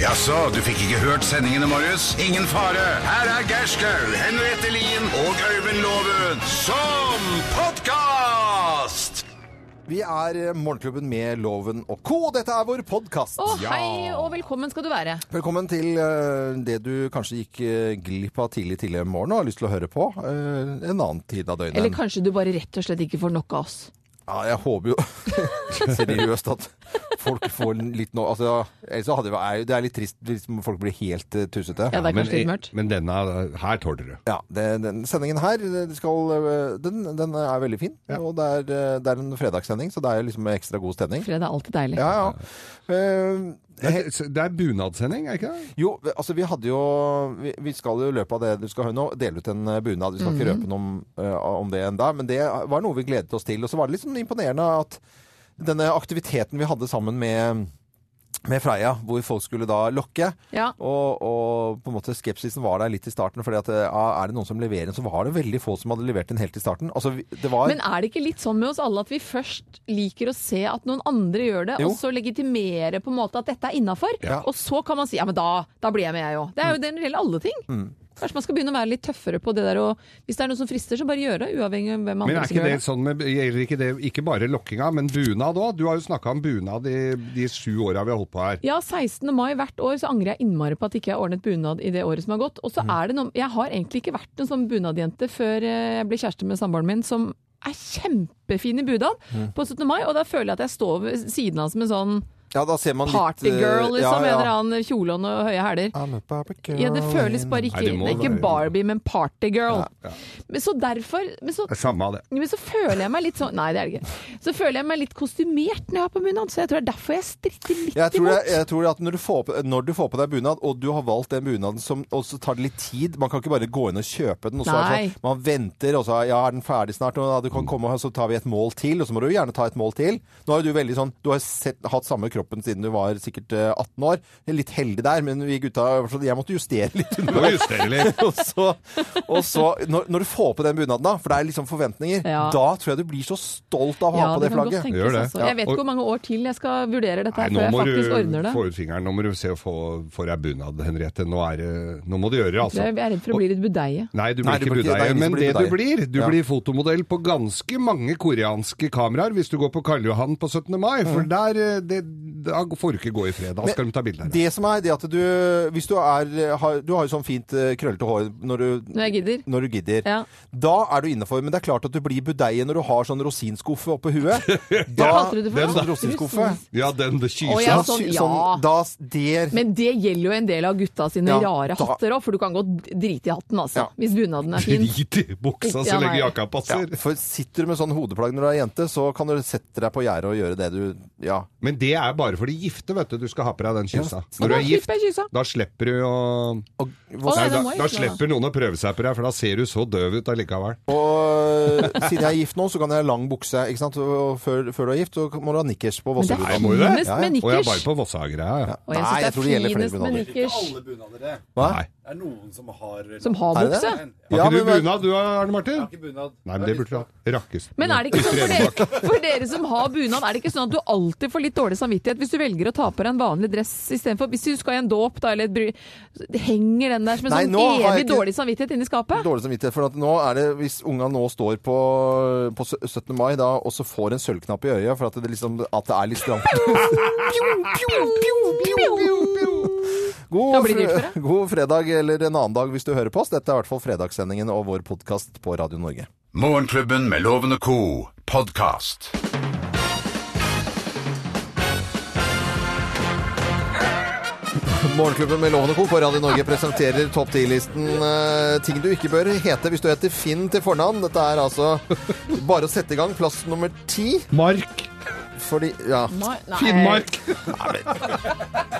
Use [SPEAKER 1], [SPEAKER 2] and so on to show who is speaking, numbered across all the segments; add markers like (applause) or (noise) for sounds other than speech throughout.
[SPEAKER 1] Jaså, du fikk ikke hørt sendingene, Marius? Ingen fare. Her er Gerskaug, Henriette Lien og Øyvind Loven som podkast!
[SPEAKER 2] Vi er eh, Morgenklubben med Loven og co. og Dette er vår podkast.
[SPEAKER 3] Å, hei og velkommen skal du være.
[SPEAKER 2] Velkommen til eh, det du kanskje gikk eh, glipp av tidlig tidlig i morgen og har lyst til å høre på eh, en annen tid av døgnet.
[SPEAKER 3] Eller kanskje du bare rett og slett ikke får nok av oss.
[SPEAKER 2] Ja, jeg håper jo (laughs) seriøst at folk får litt nå altså, Ellers så hadde det vært- det er litt trist hvis folk blir helt eh, tusete.
[SPEAKER 3] Ja, det er kanskje litt mørkt.
[SPEAKER 4] men denne her tåler du.
[SPEAKER 2] Ja, det, den sendingen her det skal, øh, den, den er veldig fin. Og det er, øh, det er en fredagssending, så det er liksom ekstra god stemning.
[SPEAKER 3] Fred er alltid deilig.
[SPEAKER 2] Ja, ja. Eh,
[SPEAKER 4] Det er, det er bunadssending, er ikke det?
[SPEAKER 2] jo, altså vi hadde jo Vi, vi skal jo i løpet av det du skal høre nå, dele ut en eh, bunad. Vi skal
[SPEAKER 3] Mhm.
[SPEAKER 2] ikke røpe noe om, eh, om det enda, men det var noe vi gledet oss til. Og så var det litt sånn imponerende at denne aktiviteten vi hadde sammen med med Freia, hvor folk skulle da lokke.
[SPEAKER 3] Ja.
[SPEAKER 2] Og, og på en måte skepsisen var der litt i starten. fordi at ja, er det noen som leverer en, så var det veldig få som hadde levert en helt i starten. Altså, vi- det var
[SPEAKER 3] Men er det ikke litt sånn med oss alle at vi først liker å se at noen andre gjør det,
[SPEAKER 2] Jo.
[SPEAKER 3] og så legitimere på en måte at dette er innafor?
[SPEAKER 2] Ja.
[SPEAKER 3] Og så kan man si ja, men da, da blir jeg med, jeg òg. Det
[SPEAKER 4] Mm.
[SPEAKER 3] er jo det når det gjelder alle ting. Kanskje man skal begynne å være litt tøffere på det der og hvis det er noe som frister, så bare gjøre det. Uavhengig av hvem
[SPEAKER 4] Men
[SPEAKER 3] andre
[SPEAKER 4] er
[SPEAKER 3] som
[SPEAKER 4] ikke
[SPEAKER 3] gjør
[SPEAKER 4] det
[SPEAKER 3] det.
[SPEAKER 4] sånn med, gjelder ikke det ikke bare lokkinga, men bunad òg? Du har jo snakka om bunad i de sju åra vi har holdt på her.
[SPEAKER 3] Ja, 16. mai hvert år så angrer jeg innmari på at ikke jeg ordnet bunad i det året som har gått. Og så er det noe, Jeg har egentlig ikke vært en sånn bunadjente før eh, jeg ble kjæreste med samboeren min, som er kjempefin i bunad på 17. mai, og da føler jeg at jeg står ved siden av som en sånn
[SPEAKER 2] ja, da ser man litt, eh,
[SPEAKER 3] partygirl, liksom. En
[SPEAKER 2] ja,
[SPEAKER 3] eller
[SPEAKER 2] ja.
[SPEAKER 3] annen kjole og noen høye hæler.
[SPEAKER 2] I'm a Barbie girl
[SPEAKER 3] Ja, det føles bare ikke
[SPEAKER 4] Nei, det må
[SPEAKER 3] Det er ikke
[SPEAKER 4] være-
[SPEAKER 3] Barbie, men partygirl.
[SPEAKER 4] Ja.
[SPEAKER 3] Men så derfor men så,
[SPEAKER 4] Det er Samme av det.
[SPEAKER 3] men så føler jeg meg litt sånn Nei, det er det ikke. Så føler jeg meg litt kostymert når jeg har på bunad, så jeg tror det er derfor jeg stritter litt
[SPEAKER 2] Jeg tror,
[SPEAKER 3] imot.
[SPEAKER 2] jeg, jeg tror at når du, får på, når du får på deg bunad, og du har valgt den bunaden som Og så tar det litt tid. Man kan ikke bare gå inn og kjøpe den. Og så er det
[SPEAKER 3] Nei.
[SPEAKER 2] sånn, man venter, og så er- ja, er den ferdig snart. Og ja, du kan komme, og så tar vi et mål til. Og så må du jo gjerne ta et mål til. Nå er jo du veldig sånn Du har sett, hatt samme kroppen siden du var sikkert eh, 18 år. Jeg er Litt heldig der, men vi gutta så Jeg måtte justere (laughs) litt.
[SPEAKER 4] Du må justere
[SPEAKER 3] (laughs)
[SPEAKER 4] litt.
[SPEAKER 2] og så, og så når, når du får på den bunaden, da, for det er liksom forventninger,
[SPEAKER 3] Ja.
[SPEAKER 2] da tror jeg du blir så stolt av å ha
[SPEAKER 3] Ja,
[SPEAKER 2] på det,
[SPEAKER 3] det kan godt
[SPEAKER 2] flagget.
[SPEAKER 3] tenkes.
[SPEAKER 4] Gjør det.
[SPEAKER 3] Altså.
[SPEAKER 4] Ja.
[SPEAKER 3] Jeg vet ikke
[SPEAKER 4] Og-
[SPEAKER 3] hvor mange år til jeg skal vurdere dette
[SPEAKER 4] Nei,
[SPEAKER 3] her
[SPEAKER 4] nå
[SPEAKER 3] før jeg
[SPEAKER 4] må
[SPEAKER 3] faktisk
[SPEAKER 4] du
[SPEAKER 3] ordner det.
[SPEAKER 4] få ut fingeren. Nå må du se å få, få deg bunad, Henriette. Nå, er, det- nå må du gjøre det, altså.
[SPEAKER 3] Jeg er redd for å bli litt budeie.
[SPEAKER 4] Nei, du blir
[SPEAKER 2] Nei, du
[SPEAKER 4] ikke
[SPEAKER 2] blir ikke- det er
[SPEAKER 4] budeie,
[SPEAKER 2] ingen som
[SPEAKER 4] men
[SPEAKER 2] blir
[SPEAKER 4] det du
[SPEAKER 2] budeie.
[SPEAKER 4] blir Du
[SPEAKER 2] Ja.
[SPEAKER 4] blir fotomodell på ganske mange koreanske kameraer hvis du går på Karl Johan på 17. mai, for
[SPEAKER 3] Mm.
[SPEAKER 4] der eh, det, da får du ikke gå i fred. Da skal de ta bilde av deg.
[SPEAKER 2] Det som er det at du Hvis du er har, Du har jo sånn fint eh, krøllete hår når du,
[SPEAKER 3] Når jeg gidder.
[SPEAKER 2] når du gidder.
[SPEAKER 3] Ja.
[SPEAKER 2] Da er du innafor. Men det er klart at du blir budeie når du har sånn rosinskuffe oppå
[SPEAKER 4] (laughs)
[SPEAKER 2] huet.
[SPEAKER 3] Hva kalte du det for?
[SPEAKER 2] Den
[SPEAKER 3] noe?
[SPEAKER 2] sånn rosinskuffe.
[SPEAKER 3] Rosin-
[SPEAKER 4] Ja, den det
[SPEAKER 3] Å,
[SPEAKER 4] kyser.
[SPEAKER 3] ja,
[SPEAKER 2] sy-
[SPEAKER 3] sånn,
[SPEAKER 2] sånn,
[SPEAKER 3] ja.
[SPEAKER 2] da s- der
[SPEAKER 3] Men det gjelder jo en del av gutta sine
[SPEAKER 2] Ja,
[SPEAKER 3] rare
[SPEAKER 2] da-
[SPEAKER 3] hatter òg, for du kan godt drite i hatten, altså.
[SPEAKER 2] Ja.
[SPEAKER 3] Hvis bunaden
[SPEAKER 5] (laughs)
[SPEAKER 3] er fin.
[SPEAKER 4] Drit i buksa
[SPEAKER 3] Ja,
[SPEAKER 4] så
[SPEAKER 3] nei.
[SPEAKER 4] lenge jakka
[SPEAKER 2] ja,
[SPEAKER 4] passer.
[SPEAKER 2] for sitter du med sånn hodeplagg når du er jente, så kan du sette deg på gjerdet og gjøre det du Ja.
[SPEAKER 4] Men det er bare for de gifte, vet du. Du skal ha på deg den kyssa.
[SPEAKER 3] Og
[SPEAKER 4] Når du
[SPEAKER 3] da
[SPEAKER 4] er gift,
[SPEAKER 3] slipper jeg kyssa.
[SPEAKER 4] da slipper du å
[SPEAKER 2] Og,
[SPEAKER 4] Nei,
[SPEAKER 3] Å, nei,
[SPEAKER 4] da,
[SPEAKER 3] den må jeg
[SPEAKER 4] da
[SPEAKER 3] ikke ha, da.
[SPEAKER 4] slipper noen å prøve seg på deg, for da ser du så døv ut allikevel.
[SPEAKER 2] og eh, siden jeg er gift nå, så kan jeg ha lang bukse. Ikke sant? Og før, før du er gift, så må du ha nikkers på
[SPEAKER 3] Men det
[SPEAKER 2] Vossebunaden.
[SPEAKER 4] Nei,
[SPEAKER 3] er
[SPEAKER 4] må du det?
[SPEAKER 3] finest
[SPEAKER 2] Ja, ja.
[SPEAKER 3] med
[SPEAKER 4] Og jeg er bare
[SPEAKER 3] nikkers.
[SPEAKER 4] på Vossa-greia, ja.
[SPEAKER 3] Og jeg
[SPEAKER 2] Nei, jeg
[SPEAKER 3] syns
[SPEAKER 2] tror
[SPEAKER 3] det
[SPEAKER 2] det
[SPEAKER 3] er
[SPEAKER 2] gjelder flere
[SPEAKER 3] finest med
[SPEAKER 2] bunader.
[SPEAKER 3] nikkers
[SPEAKER 6] Alle bunader det.
[SPEAKER 2] Hva?
[SPEAKER 4] Nei.
[SPEAKER 6] Det er noen som har
[SPEAKER 3] som har
[SPEAKER 2] Er det
[SPEAKER 3] bukse.
[SPEAKER 2] det?
[SPEAKER 4] Har
[SPEAKER 2] Ja,
[SPEAKER 4] ikke du
[SPEAKER 2] men-
[SPEAKER 4] bunad du, Arne Martin?
[SPEAKER 6] Ikke bunad.
[SPEAKER 4] Nei, men det burde du ha. Rakkes.
[SPEAKER 3] Men er det ikke sånn for dere, for dere som har bunad, er det ikke sånn at du alltid får litt dårlig samvittighet hvis du velger å ta på deg en vanlig dress istedenfor Hvis du skal i en dåp, da, eller et bry... Henger den der som en
[SPEAKER 2] Nei,
[SPEAKER 3] sånn
[SPEAKER 2] nå har
[SPEAKER 3] evig
[SPEAKER 2] jeg ikke-
[SPEAKER 3] dårlig samvittighet inni skapet?
[SPEAKER 2] Dårlig samvittighet. For at nå er det, hvis unga nå står på, på sø- 17. mai da, og så får en sølvknapp i øyet for at det, liksom, at det er litt
[SPEAKER 3] (laughs)
[SPEAKER 2] stramt
[SPEAKER 3] Da
[SPEAKER 2] god,
[SPEAKER 3] blir det dyrt
[SPEAKER 2] fre- god fredag eller en annen dag hvis du hører på oss. Dette er i hvert fall fredagssendingen og vår podkast på Radio Norge.
[SPEAKER 1] Morgenklubben med Loven og co. podkast.
[SPEAKER 2] Morgenklubben med Loven og Co. på Radio Norge presenterer topp 10-listen eh, ting du ikke bør hete hvis du heter Finn til fornavn. Dette er altså bare å sette i gang. Plass nummer ti.
[SPEAKER 4] Mark.
[SPEAKER 2] Fordi Ja.
[SPEAKER 3] Nei, nei.
[SPEAKER 4] Finnmark.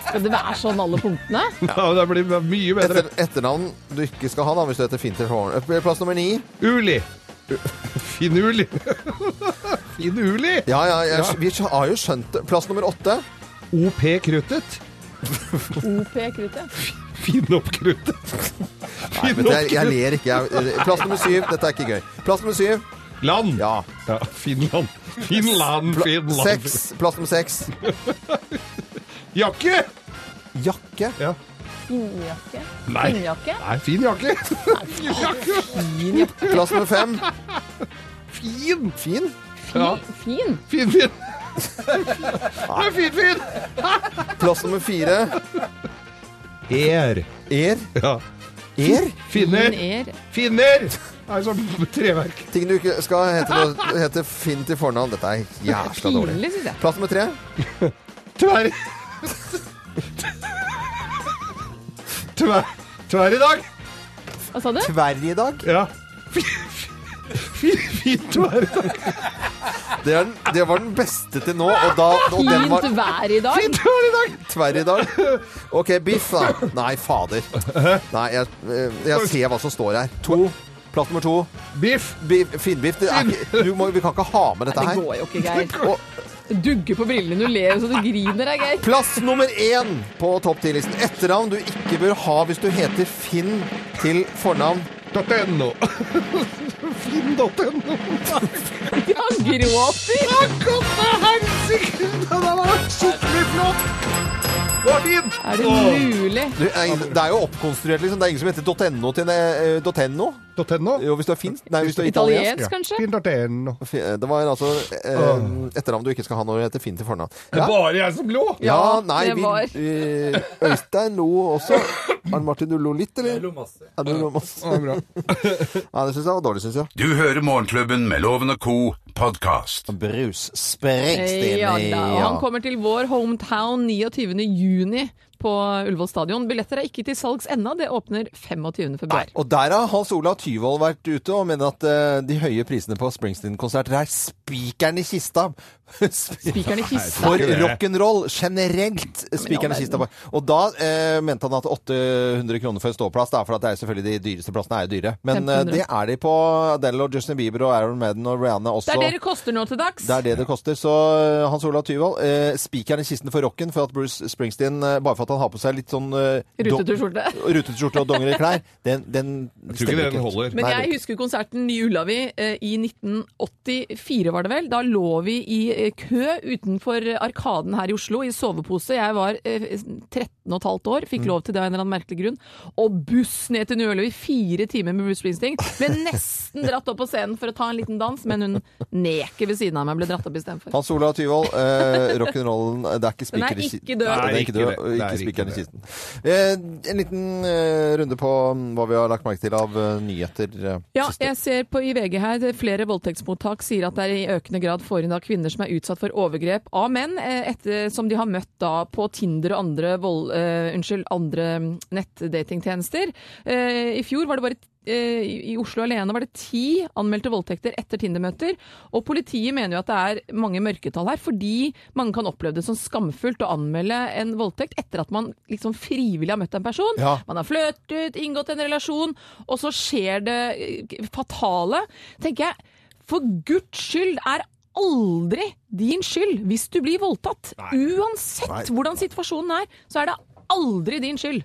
[SPEAKER 3] Skal det være sånn alle punktene?
[SPEAKER 4] (laughs) Ja, det blir mye bedre.
[SPEAKER 2] Etter, etternavn du ikke skal ha da, hvis du heter Finn til fornavn. Eh, Plass nummer ni.
[SPEAKER 4] Uli. (laughs) Finuli. (laughs) Finuli.
[SPEAKER 2] Ja, ja, jeg, vi har jo skjønt det. Plass nummer åtte.
[SPEAKER 4] OP kruttet.
[SPEAKER 3] OP-kruttet.
[SPEAKER 4] Finn opp kruttet. Finn
[SPEAKER 2] Vet du, jeg,
[SPEAKER 4] opp
[SPEAKER 2] jeg ler ikke. Jeg, plass nummer syv. Dette er ikke gøy. Plass nummer syv.
[SPEAKER 4] land.
[SPEAKER 2] Ja.
[SPEAKER 4] Ja, Finland. Finland, Finland.
[SPEAKER 2] Seks. Plass nummer seks.
[SPEAKER 4] Jakke!
[SPEAKER 2] Jakke.
[SPEAKER 5] Ja.
[SPEAKER 3] Skinnjakke?
[SPEAKER 5] Nei.
[SPEAKER 3] Skinnjakke?
[SPEAKER 5] Nei, fin jakke!
[SPEAKER 2] Fin jakke. Plass nummer fem.
[SPEAKER 5] Fin!
[SPEAKER 2] Fin.
[SPEAKER 3] Fin?
[SPEAKER 5] Ja.
[SPEAKER 3] fin.
[SPEAKER 5] (laughs) Fin, fin! Nei, fin, fin!
[SPEAKER 2] Plass nummer fire.
[SPEAKER 5] Er.
[SPEAKER 2] Er.
[SPEAKER 5] Ja.
[SPEAKER 2] Er.
[SPEAKER 3] Hun
[SPEAKER 5] Finner!
[SPEAKER 3] er
[SPEAKER 5] Finner! Det er sånn treverk.
[SPEAKER 2] Ting du ikke skal hete, på- hete Finn til fornavn. Dette er jævla dårlig.
[SPEAKER 3] pinlig, syns jeg.
[SPEAKER 2] Plass nummer tre.
[SPEAKER 5] Tverr Tverr Tverr i dag
[SPEAKER 3] Hva sa du?
[SPEAKER 2] Tverr i dag.
[SPEAKER 5] Ja Fin, fin tverr i dag
[SPEAKER 2] Det, er den, det var den beste til nå, og, da, og den var
[SPEAKER 3] Fint vær i dag.
[SPEAKER 5] Fin tverr i dag
[SPEAKER 2] tverr i dag. OK, biff, da. Nei, fader. Nei, jeg, eh, jeg ser hva som står her. To. Plass nummer to.
[SPEAKER 5] Biff
[SPEAKER 2] Biff, Finnbiff. Det er ikke, du må, vi kan ikke ha med dette
[SPEAKER 3] Det
[SPEAKER 2] her.
[SPEAKER 3] går jo ikke, Geir.
[SPEAKER 2] Og
[SPEAKER 3] Du dugger på brillene, du ler jo så du griner deg, Geir. (laughs)
[SPEAKER 2] plass nummer én på topp ti-listen. Etternavn du ikke bør ha hvis du heter Finn til fornavn.
[SPEAKER 5] (laughs) .no Finn.no
[SPEAKER 3] Han gråter.
[SPEAKER 5] Den har vært skikkelig flott Hva fin
[SPEAKER 3] Er det mulig?
[SPEAKER 2] Du, er ingen- det er jo oppkonstruert, liksom. Det er ingen som heter .no til eh, .no.
[SPEAKER 5] .no
[SPEAKER 2] Jo, hvis du er finsk. Nei, hvis du er italiensk.
[SPEAKER 3] Italiensk, kanskje?
[SPEAKER 5] Finn.no
[SPEAKER 2] Fi- Det var altså eh, etternavn du ikke skal ha når du heter Finn til fornavn.
[SPEAKER 5] Det
[SPEAKER 2] Ja.
[SPEAKER 5] er bare jeg som lå
[SPEAKER 2] Ja,
[SPEAKER 3] Ja,
[SPEAKER 2] nei,
[SPEAKER 3] det
[SPEAKER 2] vi,
[SPEAKER 3] var.
[SPEAKER 2] vi, Øystein lo også. Arne Martin, du lo litt, eller?
[SPEAKER 7] Jeg lo masse.
[SPEAKER 2] Ja, du lo masse.
[SPEAKER 5] Det er bra
[SPEAKER 2] Ja, det syns jeg var dårlig, syns jeg.
[SPEAKER 1] Du hører Morgenklubben med Loven og Co. podcast.
[SPEAKER 2] Brus Springsteen.
[SPEAKER 3] Eh, Ja da, og han
[SPEAKER 2] ja.
[SPEAKER 3] kommer til vår hometown 29. juni på Ullevål stadion. Billetter er ikke til salgs ennå, det åpner 25. februar.
[SPEAKER 2] Og der har Hans Ola Tyvold vært ute og mener at eh, de høye prisene på Springsteen-konserter er spikeren i kista. (laughs)
[SPEAKER 3] Spikeren i kista.
[SPEAKER 2] For rock'n'roll generelt. Spikeren i kista. Og da eh, mente han at 800 kroner for en ståplass, da, for at det er jo selvfølgelig de dyreste plassene er jo dyre. Men eh,
[SPEAKER 3] 1500.
[SPEAKER 2] det er de på Adele og Justin Bieber og Aaron Madden og Rihanna også.
[SPEAKER 3] Det er det det koster nå til dags.
[SPEAKER 2] Det er det det koster. Så eh, Hans Olav Tyvold, eh, spikeren i kisten for rocken for at Bruce Springsteen, eh, bare for at han har på seg litt sånn eh, do-
[SPEAKER 3] Rutete skjorte.
[SPEAKER 2] Rutete skjorte og dongeri
[SPEAKER 3] (laughs)
[SPEAKER 2] klær, den, den
[SPEAKER 5] Jeg tror ikke den holder.
[SPEAKER 3] Men
[SPEAKER 2] Nei,
[SPEAKER 3] jeg
[SPEAKER 2] det-
[SPEAKER 3] husker konserten i Ullavi eh, i 1984, var det vel. Da lå vi i eh, kø utenfor Arkaden her i Oslo i sovepose. Jeg var eh, 13 og et halvt år,
[SPEAKER 2] Mm.
[SPEAKER 3] fikk lov til det av en eller annen merkelig grunn. Og buss ned til Ullavi, fire timer med Bruce Springsteen. Ble nesten dratt opp på scenen for å ta en liten dans, men
[SPEAKER 2] (laughs)
[SPEAKER 3] hun neket ved siden av meg ble dratt opp istedenfor.
[SPEAKER 2] Hans Olav Tyvold, eh, rock'n'rollen eh, Det er ikke
[SPEAKER 3] Den
[SPEAKER 2] spiker
[SPEAKER 3] er
[SPEAKER 2] i kisten.
[SPEAKER 3] ikke død.
[SPEAKER 2] Nei, det er ikke død.
[SPEAKER 5] det. Det er
[SPEAKER 2] Ikke
[SPEAKER 5] ikke
[SPEAKER 2] spikeren i
[SPEAKER 5] det.
[SPEAKER 2] kisten. Eh, en liten eh, runde på mm, hva vi har lagt merke til av eh, nyheter. eh,
[SPEAKER 3] Ja,
[SPEAKER 2] siste.
[SPEAKER 3] jeg ser på i VG her det er flere voldtektsmottak sier at det er i økende grad får inn av kvinner som er utsatt for overgrep av menn, eh, etter som de har møtt da på Tinder og andre, vold, eh, unnskyld, andre mm, nettdatingtjenester. Eh, I fjor var det bare eh, i i Oslo alene var det ti anmeldte voldtekter etter Tinder-møter. Og politiet mener jo at det er mange mørketall her, fordi mange kan oppleve det som skamfullt å anmelde en voldtekt etter at man liksom frivillig har møtt en person.
[SPEAKER 2] Ja.
[SPEAKER 3] Man har flørtet, inngått en relasjon, og så skjer det eh, fatale. Tenker jeg, for guds skyld er aldri din skyld hvis du blir voldtatt. Uansett
[SPEAKER 2] Nei.
[SPEAKER 3] hvordan situasjonen er, så er det aldri din skyld.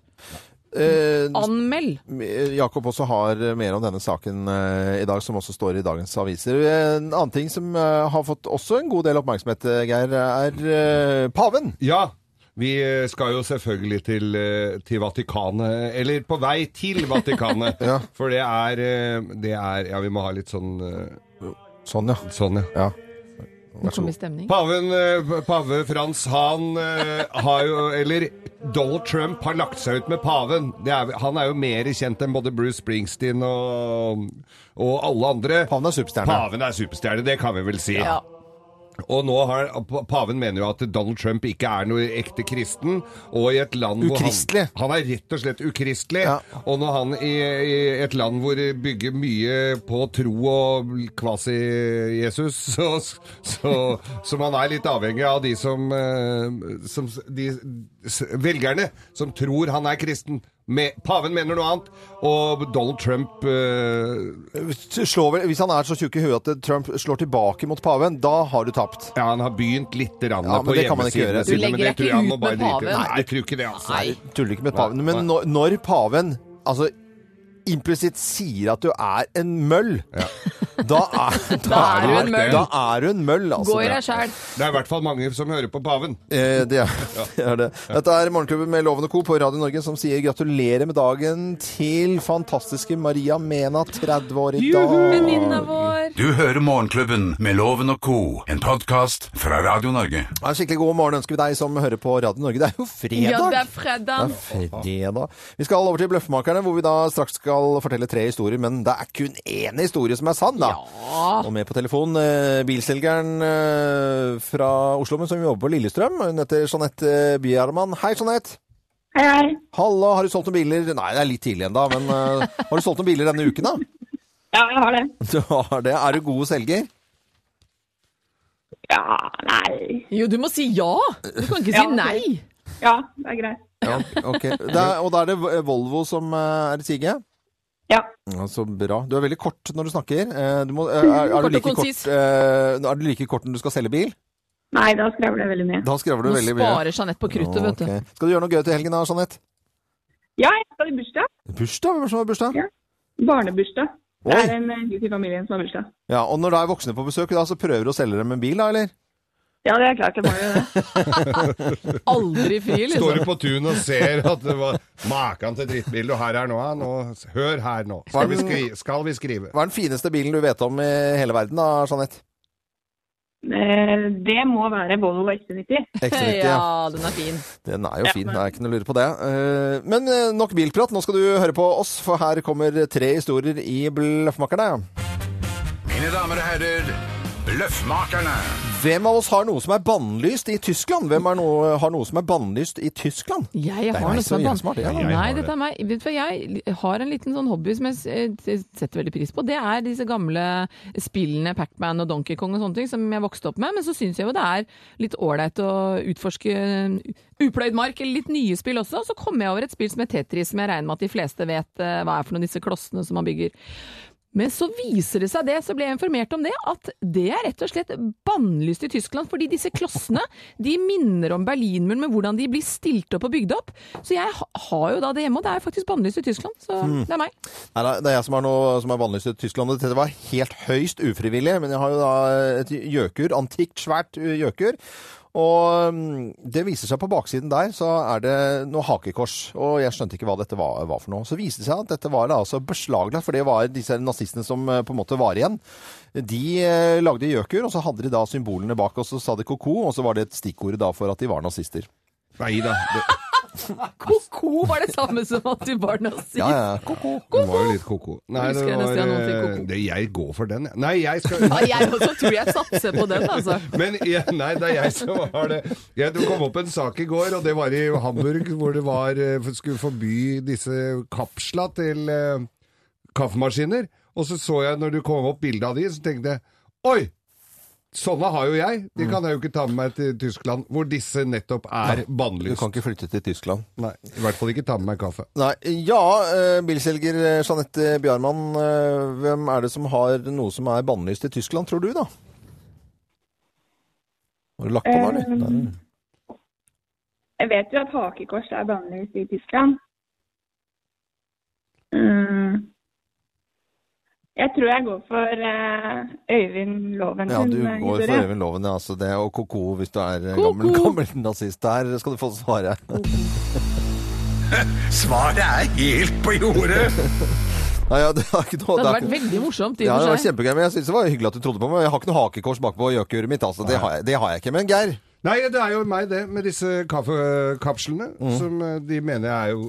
[SPEAKER 2] Eh,
[SPEAKER 3] Anmeld.
[SPEAKER 2] Jakob også har mer om denne saken eh, i dag, som også står i dagens aviser. En annen ting som eh, har fått også en god del oppmerksomhet, eh, Geir, er eh, paven.
[SPEAKER 5] Ja, vi eh, skal jo selvfølgelig til, eh, til Vatikanet, eller på vei til Vatikanet. (laughs) For det er, eh, det er Ja, vi må ha litt sånn eh,
[SPEAKER 2] Sånn, ja.
[SPEAKER 5] Sånn, ja.
[SPEAKER 2] ja.
[SPEAKER 3] Nå kom i stemning.
[SPEAKER 5] Paven, eh, pave Frans, han eh, har jo Eller Donald Trump har lagt seg ut med paven. Det er, han er jo mer kjent enn både Bruce Springsteen og, og alle andre.
[SPEAKER 2] Paven er superstjerne.
[SPEAKER 5] Paven er superstjerne, det kan vi vel si.
[SPEAKER 3] Ja.
[SPEAKER 5] Og nå har Paven mener jo at Donald Trump ikke er noe ekte kristen, og i et land hvor
[SPEAKER 2] Ukristelig.
[SPEAKER 5] Han, han er rett og slett ukristelig.
[SPEAKER 2] Ja.
[SPEAKER 5] Og når han i, i et land hvor det bygger mye på tro og kvasi-Jesus, (laughs) så, så, som han er litt avhengig av de som, eh, som s- de, s- Velgerne som tror han er kristen. Me- paven mener noe annet, og Donald Trump eh,
[SPEAKER 2] Slår, vel- hvis han er så tjukk i huet at Trump slår tilbake mot paven, da har du tapt.
[SPEAKER 5] Ja, han har begynt litt rann
[SPEAKER 2] Ja, men
[SPEAKER 5] på
[SPEAKER 2] det kan man ikke
[SPEAKER 5] hjemmesidene
[SPEAKER 2] gjøre.
[SPEAKER 3] Du
[SPEAKER 5] sine, men
[SPEAKER 3] legger
[SPEAKER 5] det tror
[SPEAKER 3] deg ikke
[SPEAKER 5] jeg han
[SPEAKER 3] ut
[SPEAKER 5] må bare
[SPEAKER 3] med
[SPEAKER 5] drite i.
[SPEAKER 3] paven.
[SPEAKER 5] Nei, jeg tror ikke det, altså.
[SPEAKER 3] Nei.
[SPEAKER 2] Tuller ikke med paven. Men når, når paven Altså, implisitt sier at du er en møll, (laughs) da, er, da,
[SPEAKER 3] er du en møll.
[SPEAKER 2] Da er du en møll, altså.
[SPEAKER 3] Gå i deg sjæl.
[SPEAKER 5] Det er i hvert fall mange som hører på paven.
[SPEAKER 2] Eh, det, er, (laughs) det er det. Dette er Morgenklubben med Loven og Co. på Radio Norge som sier gratulerer med dagen til fantastiske Maria Mena, 30 år i dag.
[SPEAKER 3] Venninna vår.
[SPEAKER 1] Du hører Morgenklubben med Loven og co., en podkast fra Radio Norge.
[SPEAKER 2] Ja, En skikkelig god morgen ønsker vi deg som hører på Radio Norge. Det er jo fredag!
[SPEAKER 3] Ja, det er
[SPEAKER 2] Det
[SPEAKER 3] fredag.
[SPEAKER 2] er fredag. Vi skal over til Bløffmakerne, hvor vi da straks skal fortelle tre historier, men det er kun én historie som er sann, da. Og med på telefon eh, bilselgeren eh, fra Oslo, men som jobber på Lillestrøm. Hun heter Jeanette Bjermann. Hei, Jeanette!
[SPEAKER 8] Hei, hei.
[SPEAKER 2] Halla, har du solgt noen biler? Nei, det er litt tidlig ennå, men eh, har du solgt noen biler denne uken, da?
[SPEAKER 8] Ja, jeg har det.
[SPEAKER 2] (laughs) Du har det. Er du god selger?
[SPEAKER 8] Ja, nei.
[SPEAKER 3] Jo, du må si ja! Du kan ikke
[SPEAKER 8] Ja,
[SPEAKER 3] si
[SPEAKER 8] ok.
[SPEAKER 3] nei.
[SPEAKER 8] Ja, det er greit.
[SPEAKER 2] Ja, ok. Det er, og da er det Volvo som eh, er i siget?
[SPEAKER 8] Ja.
[SPEAKER 2] Ja, så bra. Du er veldig kort når du snakker. Eh, Du må, eh, er, er,
[SPEAKER 3] Kort og
[SPEAKER 2] du like kort,
[SPEAKER 3] konsis.
[SPEAKER 2] eh, er du like kort når du skal selge bil?
[SPEAKER 8] Nei, da skrev det veldig mye.
[SPEAKER 2] Da skriver du
[SPEAKER 3] Nå
[SPEAKER 2] veldig mye.
[SPEAKER 3] sparer Jeanette på kruttet, vet du.
[SPEAKER 2] Ok. Skal du gjøre noe gøy til helgen da, Jeanette?
[SPEAKER 8] Ja, jeg skal i bursdag.
[SPEAKER 2] Bursdag? Hvem er det som har bursdag?
[SPEAKER 8] Ja. Barnebursdag. Det
[SPEAKER 2] Oi.
[SPEAKER 8] er en eh, gutt i familien som har bursdag.
[SPEAKER 2] Ja, og når det er voksne på besøk, da, så prøver du å selge dem en bil, da, eller?
[SPEAKER 8] Ja, det er klart det (laughs) må jo det.
[SPEAKER 3] Aldri fri,
[SPEAKER 5] Står
[SPEAKER 3] liksom.
[SPEAKER 5] du på tunet og ser at det var maken til drittbil du har her nå, ja, nå Hør her nå. Skal vi skrive? Skal vi skrive?
[SPEAKER 2] Hva er den fineste bilen du vet om i hele verden, da, Jeanette?
[SPEAKER 8] Eh, Det må være Volvo XC90.
[SPEAKER 2] X90, ja.
[SPEAKER 3] (laughs) Ja, den er fin.
[SPEAKER 2] Den er jo fin, det er ikke noe å lure på det. Eh, Men eh, nok bilprat, nå skal du høre på oss, for her kommer tre historier i Bløffmakerne.
[SPEAKER 1] Mine damer og herrer, Bløffmakerne.
[SPEAKER 2] Hvem av oss har noe som er bannlyst i Tyskland? Hvem er noe, har noe som er bannlyst i Tyskland?
[SPEAKER 3] Jeg
[SPEAKER 2] er
[SPEAKER 3] har
[SPEAKER 2] meg
[SPEAKER 3] noe som
[SPEAKER 2] som
[SPEAKER 3] er
[SPEAKER 2] gjør smart, ja.
[SPEAKER 3] bann.
[SPEAKER 5] Jeg
[SPEAKER 3] Nei,
[SPEAKER 5] har det.
[SPEAKER 3] dette er meg. Vet du hva, jeg har en liten sånn hobby som jeg s- eh, setter veldig pris på. Det er disse gamle spillene Pac-Man og Donkey Kong og sånne ting som jeg vokste opp med. Men så syns jeg jo det er litt ålreit å utforske eh, upløyd mark eller litt nye spill også. Og så kom jeg over et spill som heter Tetris, som jeg regner med at de fleste vet eh, hva er for noen av disse klossene som man bygger. Men så viser det seg det, så ble jeg informert om det, at det er rett og slett bannlyst i Tyskland. Fordi disse klossene de minner om Berlinmuren med hvordan de blir stilt opp og bygd opp. Så jeg ha- har jo da det hjemme, og det er faktisk bannlyst i Tyskland. Så
[SPEAKER 2] Hmm.
[SPEAKER 3] det er meg.
[SPEAKER 2] Nei, nei, det er jeg som har noe som er bannlyst i Tyskland. og Dette var helt høyst ufrivillig, men jeg har jo da et gjøkur, antikt svært eh, gjøkur. Og mm, det viser seg på baksiden der, så er det noe hakekors. Og jeg skjønte ikke hva dette var, var for noe. Så viste det seg at dette var da altså beslaglagt, for det var disse nazistene som eh, på en måte var igjen. De eh, lagde gjøkur, og så hadde de da symbolene bak, og så sa de ko-ko, og så var det et stikkord da for at de var nazister.
[SPEAKER 5] Nei da. Det
[SPEAKER 3] Ko-ko var det samme som at du var nazist.
[SPEAKER 2] Ja, ja, ko-ko.
[SPEAKER 5] det var jo litt ko-ko. Nei,
[SPEAKER 3] Jeg
[SPEAKER 5] det
[SPEAKER 3] husker jeg
[SPEAKER 5] var
[SPEAKER 3] nesten jeg nå til
[SPEAKER 5] eh,
[SPEAKER 3] ko-ko.
[SPEAKER 5] det, Jeg går for den, jeg. Nei, jeg skal
[SPEAKER 3] Ja, jeg også tror jeg satser på den, altså.
[SPEAKER 2] (laughs)
[SPEAKER 5] Men jeg, nei, det er jeg som har det. Jeg, det kom opp en sak i går, og det var i Hamburg, hvor det var, eh, for- skulle forby disse kapsla til eh, kaffemaskiner. Og så så jeg, når du kom opp bildet av de, så tenkte jeg Oi! Sånne har jo jeg! De kan jeg jo ikke ta med meg til Tyskland, hvor disse nettopp er
[SPEAKER 2] Du
[SPEAKER 5] bannlyst.
[SPEAKER 2] kan ikke flytte til Tyskland.
[SPEAKER 5] Nei, I hvert fall ikke ta med meg kaffe.
[SPEAKER 2] Nei, ja, eh, bilselger eh, Jeanette Bjarmann, eh, hvem er det som har noe som er bannlyst i Tyskland, tror du da? Har du lagt på nå, eller?
[SPEAKER 8] Eh,
[SPEAKER 3] Ehm,
[SPEAKER 8] Jeg vet jo at hakekors er vanligvis i Tyskland. Mm. Jeg tror jeg går for eh, Øyvind Loven.
[SPEAKER 2] Ja, du
[SPEAKER 8] sin, eh,
[SPEAKER 2] går for
[SPEAKER 8] historie.
[SPEAKER 2] Øyvind Loven, ja, altså det, og ko-ko hvis du er eh,
[SPEAKER 3] Ko-ko!
[SPEAKER 2] gammel, (laughs) gammel nazist. Der skal du få svare.
[SPEAKER 1] Svaret er helt på jordet.
[SPEAKER 2] Nei, ja, det er ikke noe...
[SPEAKER 3] Det hadde
[SPEAKER 2] er
[SPEAKER 3] vært
[SPEAKER 2] ikke-
[SPEAKER 3] veldig morsomt i
[SPEAKER 2] Ja,
[SPEAKER 3] og
[SPEAKER 2] det var
[SPEAKER 3] for seg.
[SPEAKER 2] kjempegøy, men jeg synes det var hyggelig at du trodde på meg. Jeg har ikke noe hakekors bakpå jøkuret mitt, altså. Det har, jeg, det har jeg ikke. Men Geir,
[SPEAKER 5] Nei, det er jo meg det, med disse kaffekapslene, som eh, de mener er jo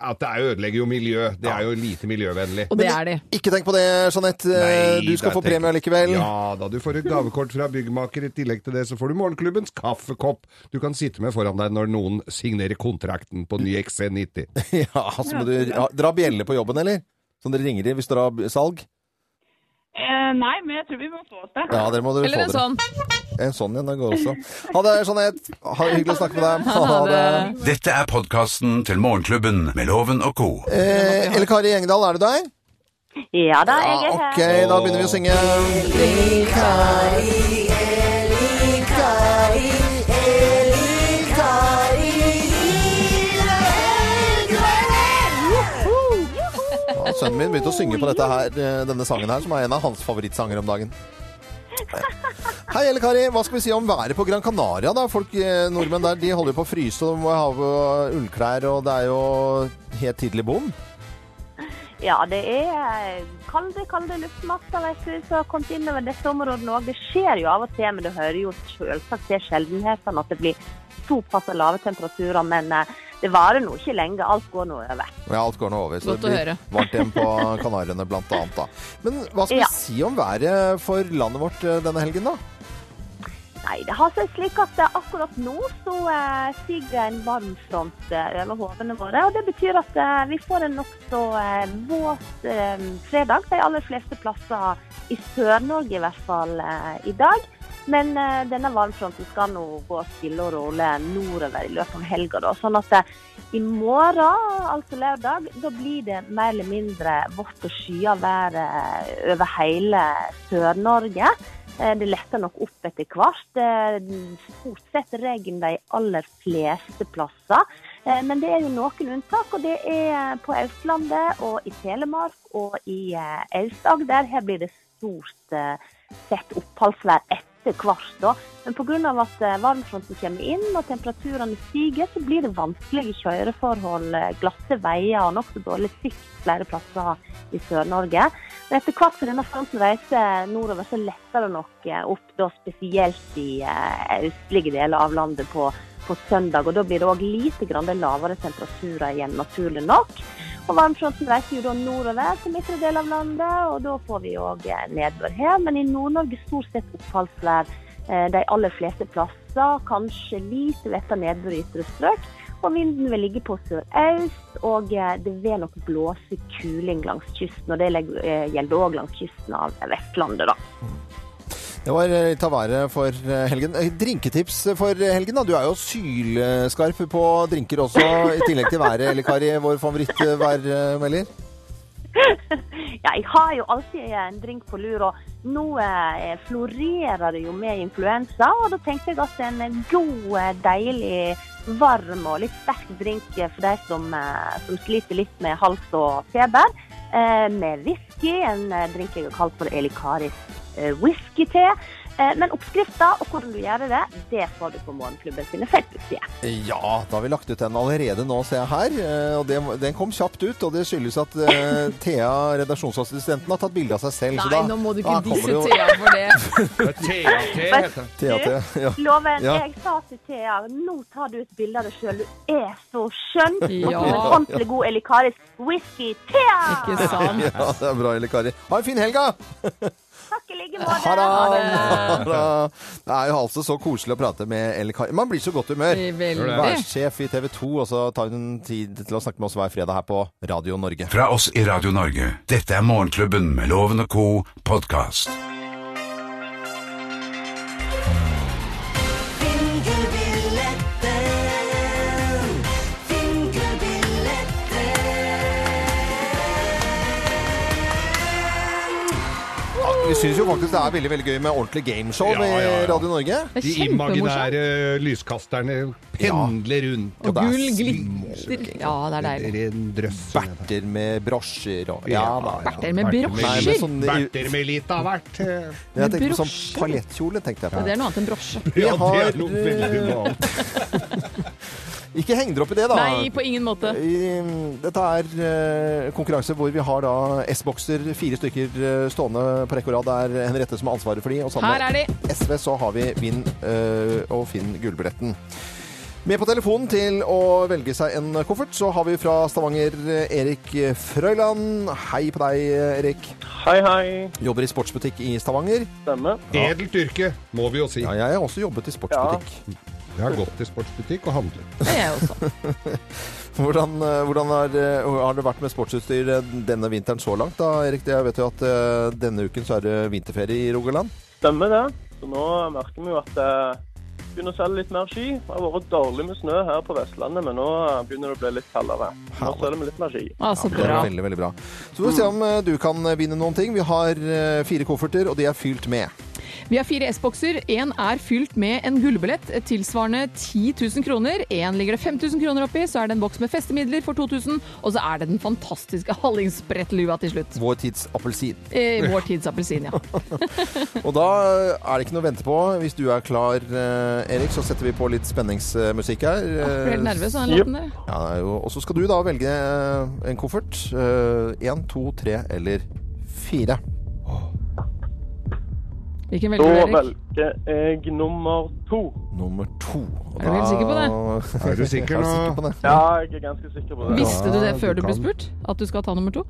[SPEAKER 5] At det er ødelegger jo miljø. Det er jo lite miljøvennlig.
[SPEAKER 3] Og det er de.
[SPEAKER 2] ikke tenk på det, Jeanette. Eh,
[SPEAKER 5] Nei,
[SPEAKER 2] du skal
[SPEAKER 5] der
[SPEAKER 2] få
[SPEAKER 5] tenker-
[SPEAKER 2] premie likevel.
[SPEAKER 5] Ja da, du får et gavekort fra byggmaker. I tillegg til det så får du morgenklubbens kaffekopp du kan sitte med foran deg når noen signerer kontrakten på ny
[SPEAKER 4] (laughs)
[SPEAKER 5] XC90.
[SPEAKER 2] (laughs) Ja, så må du ja, dra bjelle på jobben, eller? Som dere ringer i hvis dere har b- salg?
[SPEAKER 8] Eh, nei, men jeg tror vi må få oss det.
[SPEAKER 2] Ja, dere må dere
[SPEAKER 3] Eller
[SPEAKER 2] få
[SPEAKER 3] en
[SPEAKER 2] dere.
[SPEAKER 3] sånn.
[SPEAKER 2] En sånn en, det går også. Ha det, Jeanette. Ha, hyggelig å snakke med deg. Ha det.
[SPEAKER 1] Dette er podkasten til Morgenklubben med Loven og co.
[SPEAKER 2] Eh, Elle Kari Engedal, er du der?
[SPEAKER 9] Ja da, jeg er
[SPEAKER 2] Ok,
[SPEAKER 9] her.
[SPEAKER 2] da begynner vi å synge.
[SPEAKER 9] Juhu!
[SPEAKER 2] Sønnen min begynte å synge på dette her, eh, denne sangen her, som er en av hans favorittsanger om dagen. Hei, Elle Kari. Hva skal vi si om været på Gran Canaria, da? Folk, eh, nordmenn der, de holder jo på å fryse, og de må ha på ullklær, og det er jo helt tidlig bom.
[SPEAKER 10] Ja, det er eh, kalde, kalde luftmasser vet du, som har kommet innover disse områdene òg. Det skjer jo av og til, men du hører jo selvsagt til sjeldenhetene at det blir såpass lave temperaturer. Men eh, det varer nå ikke lenge. Alt går nå over.
[SPEAKER 2] Ja, alt går nå over. Så
[SPEAKER 3] Godt
[SPEAKER 2] det
[SPEAKER 3] å
[SPEAKER 2] blir
[SPEAKER 3] høre.
[SPEAKER 2] varmt igjen på (laughs) Kanariene, blant annet, da. Men hva skal
[SPEAKER 10] Ja.
[SPEAKER 2] vi si om været for landet vårt eh, denne helgen, da?
[SPEAKER 10] Nei, det har seg slik at eh, akkurat nå så eh, stiger en varmfront eh, over hovene våre. Og det betyr at eh, vi får en nokså eh, våt eh, fredag de aller fleste plasser i Sør-Norge i hvert fall eh, i dag. Men eh, denne varmfronten skal nå gå stille og rolig nordover i løpet av helga. da, Sånn at eh, i morgen, altså lørdag, da blir det mer eller mindre vått og skya vær eh, over hele Sør-Norge. Eh, Det letter nok opp etter hvert. Eh, Stort sett regn de aller fleste plasser. Eh, Men det er jo noen unntak, og det er på Østlandet og i Telemark og i eh, Aust-Agder. Her blir det stort eh, sett oppholdsvær etter hvert. da. Men pga. at eh, varmfronten kommer inn og temperaturene stiger, så blir det vanskelige kjøreforhold, eh, glatte veier og nokså dårlig sikt flere plasser i Sør-Norge. Men etter hvert som denne fronten reiser eh, nordover, så letter det nok eh, opp, da spesielt i eh, østlige deler av landet på, på søndag. Og da blir det òg lite grann lavere temperaturer igjen, naturlig nok. Og varmfronten reiser jo da nordover til midtre del av landet, og da får vi òg eh, nedbør her. Men i Nord-Norge stort sett oppholdsvær eh, de aller fleste plasser, kanskje lite letta nedbør i ytre strøk. Og vinden vil ligge på sørøst, og eh, det vil nok blåse kuling langs kysten. Og det legger- eh, gjelder òg langs kysten av Vestlandet, da.
[SPEAKER 2] Det var eh, litt av været for eh, helgen. Eh, Drinketips for eh, helgen, da. Du er jo sylskarp på drinker også, i tillegg til været, eller Kari, vår eh, favorittværmelder.
[SPEAKER 10] (laughs) Ja, jeg har jo alltid en drink på lur, og nå eh, florerer det jo med influensa. Og da tenkte jeg at en god, eh, deilig, varm og litt sterk drink eh, for de som, eh, som sliter litt med hals og feber, eh, med whisky. En eh, drink jeg har kalt for Elikaris eh, whisky-te. Eh, men oppskrifta og hvordan du gjør det, det får du på Morgenklubben sine Facebook-sider.
[SPEAKER 2] Ja, da har vi lagt ut den allerede nå, ser jeg her. Eh, Og det, den kom kjapt ut, og det skyldes at eh, Thea, redaksjonsassistenten, har tatt bilde av seg selv. så
[SPEAKER 3] Nei,
[SPEAKER 2] da,
[SPEAKER 3] nå må du
[SPEAKER 2] da
[SPEAKER 3] ikke
[SPEAKER 2] kommer det
[SPEAKER 3] disse
[SPEAKER 2] jo-
[SPEAKER 3] Thea for det.
[SPEAKER 4] TAT heter det.
[SPEAKER 2] Thea, Thea, ja.
[SPEAKER 10] Loven,
[SPEAKER 2] Ja.
[SPEAKER 10] jeg sa til Thea nå tar du et bilde av deg sjøl. Du er så skjønn. Og
[SPEAKER 3] Ja.
[SPEAKER 10] så en ordentlig sånn god elikarisk whisky. Thea!
[SPEAKER 3] Ikke
[SPEAKER 2] (laughs) (laughs)
[SPEAKER 3] sant?
[SPEAKER 2] ja, det er bra, Elle Kari. Ha en fin helg, da!
[SPEAKER 10] Takk i like
[SPEAKER 2] Ha
[SPEAKER 10] måte.
[SPEAKER 2] det! (laughs) Ha det. Det er jo altså så koselig å prate med Elle Kari. Man blir så godt humør.
[SPEAKER 3] Veldig.
[SPEAKER 2] Værsjef i TV 2, og så tar hun tid til å snakke med oss hver fredag her på Radio Norge.
[SPEAKER 1] Fra oss i Radio Norge. Dette er Morgenklubben med Loven og co. podkast.
[SPEAKER 2] Vi syns jo faktisk det er veldig veldig gøy med ordentlig gameshow
[SPEAKER 4] Ja, ja, ja.
[SPEAKER 2] i Radio Norge.
[SPEAKER 3] Det
[SPEAKER 4] De
[SPEAKER 3] er kjempemorsomt.
[SPEAKER 4] imaginære lyskasterne pendler rundt.
[SPEAKER 3] Og
[SPEAKER 2] det er
[SPEAKER 3] gull glitter. Ja, det er deilig.
[SPEAKER 4] Det er en drøss.
[SPEAKER 2] Berter med brosjer og da.
[SPEAKER 3] Berter med
[SPEAKER 2] Nei,
[SPEAKER 3] brosjer.
[SPEAKER 2] men sånn,
[SPEAKER 4] Berter med litt av hvert.
[SPEAKER 2] jeg tenkte på sånn
[SPEAKER 3] brosjer.
[SPEAKER 2] paljettkjole, tenkte jeg på.
[SPEAKER 3] Det er noe annet enn brosje.
[SPEAKER 4] (laughs)
[SPEAKER 2] Vi
[SPEAKER 4] Ja, det
[SPEAKER 2] har,
[SPEAKER 4] er noe veldig
[SPEAKER 2] eh,
[SPEAKER 4] annet.
[SPEAKER 2] Ikke heng dere opp i det, da.
[SPEAKER 3] Nei, på ingen måte.
[SPEAKER 2] I- Dette er eh, konkurranse hvor vi har da S-bokser, fire stykker eh, stående på rekke og rad. Det er Henriette som har ansvaret for de, og sammen
[SPEAKER 3] Her er de.
[SPEAKER 2] med SV så har vi Vinn eh, og Finn Gullbilletten. Med på telefonen til å velge seg en koffert, så har vi fra Stavanger eh, Erik Frøyland. Hei på deg, Erik.
[SPEAKER 11] Hei, hei.
[SPEAKER 2] Jobber i sportsbutikk i Stavanger.
[SPEAKER 11] Stemme.
[SPEAKER 5] eh,
[SPEAKER 4] Edelt yrke, må vi jo si.
[SPEAKER 2] Ja, jeg har også jobbet i sportsbutikk.
[SPEAKER 4] Jeg har gått til sportsbutikk og handlet.
[SPEAKER 3] Det er jeg også.
[SPEAKER 2] Hvordan, eh, hvordan har, eh, har det vært med sportsutstyr eh, denne vinteren så langt? da, Erik? Jeg vet jo at eh, denne uken så er det vinterferie i Rogaland.
[SPEAKER 11] Stemmer det. Så nå merker vi jo at eh, det begynner å selge litt mer ski. Det har vært dårlig med snø her på Vestlandet, men nå eh, begynner det å bli litt kaldere. Nå
[SPEAKER 2] Herlig.
[SPEAKER 11] selger vi litt mer ski.
[SPEAKER 3] Ah, så
[SPEAKER 2] Det er
[SPEAKER 3] bra.
[SPEAKER 2] veldig, veldig bra. Så får vi se om eh, du kan vinne noen ting. Vi har eh, fire kofferter, og de er fylt med.
[SPEAKER 3] Vi har fire S-bokser. Én er fylt med en gullbillett tilsvarende 10 000 kroner. Én ligger det 5000 kroner oppi, så er det en boks med festemidler for 2000, og så er det den fantastiske hallingsbrettlua til slutt.
[SPEAKER 2] Vår tids appelsin.
[SPEAKER 3] Eh, vår tids appelsin, (laughs) ja.
[SPEAKER 2] Og da er det ikke noe å vente på. Hvis du er klar, eh, Erik, så setter vi på litt spenningsmusikk her. Eh,
[SPEAKER 3] Jeg Ble helt nervøs av den
[SPEAKER 11] Jep.
[SPEAKER 3] låten der.
[SPEAKER 2] Ja, det er jo, og så skal du da velge eh, en koffert. Én, to, tre eller fire.
[SPEAKER 3] Hvilken
[SPEAKER 11] Da
[SPEAKER 3] velger du, Erik?
[SPEAKER 11] velger jeg nummer to.
[SPEAKER 2] Nummer to. Og
[SPEAKER 3] Er du helt sikker på
[SPEAKER 2] det?
[SPEAKER 4] Er du sikker nå?
[SPEAKER 2] på det?
[SPEAKER 11] Ja, jeg er ganske sikker på det.
[SPEAKER 3] Visste du det
[SPEAKER 2] Ja,
[SPEAKER 3] før
[SPEAKER 2] du
[SPEAKER 3] du ble
[SPEAKER 2] kan.
[SPEAKER 3] spurt? At du skal ta nummer to?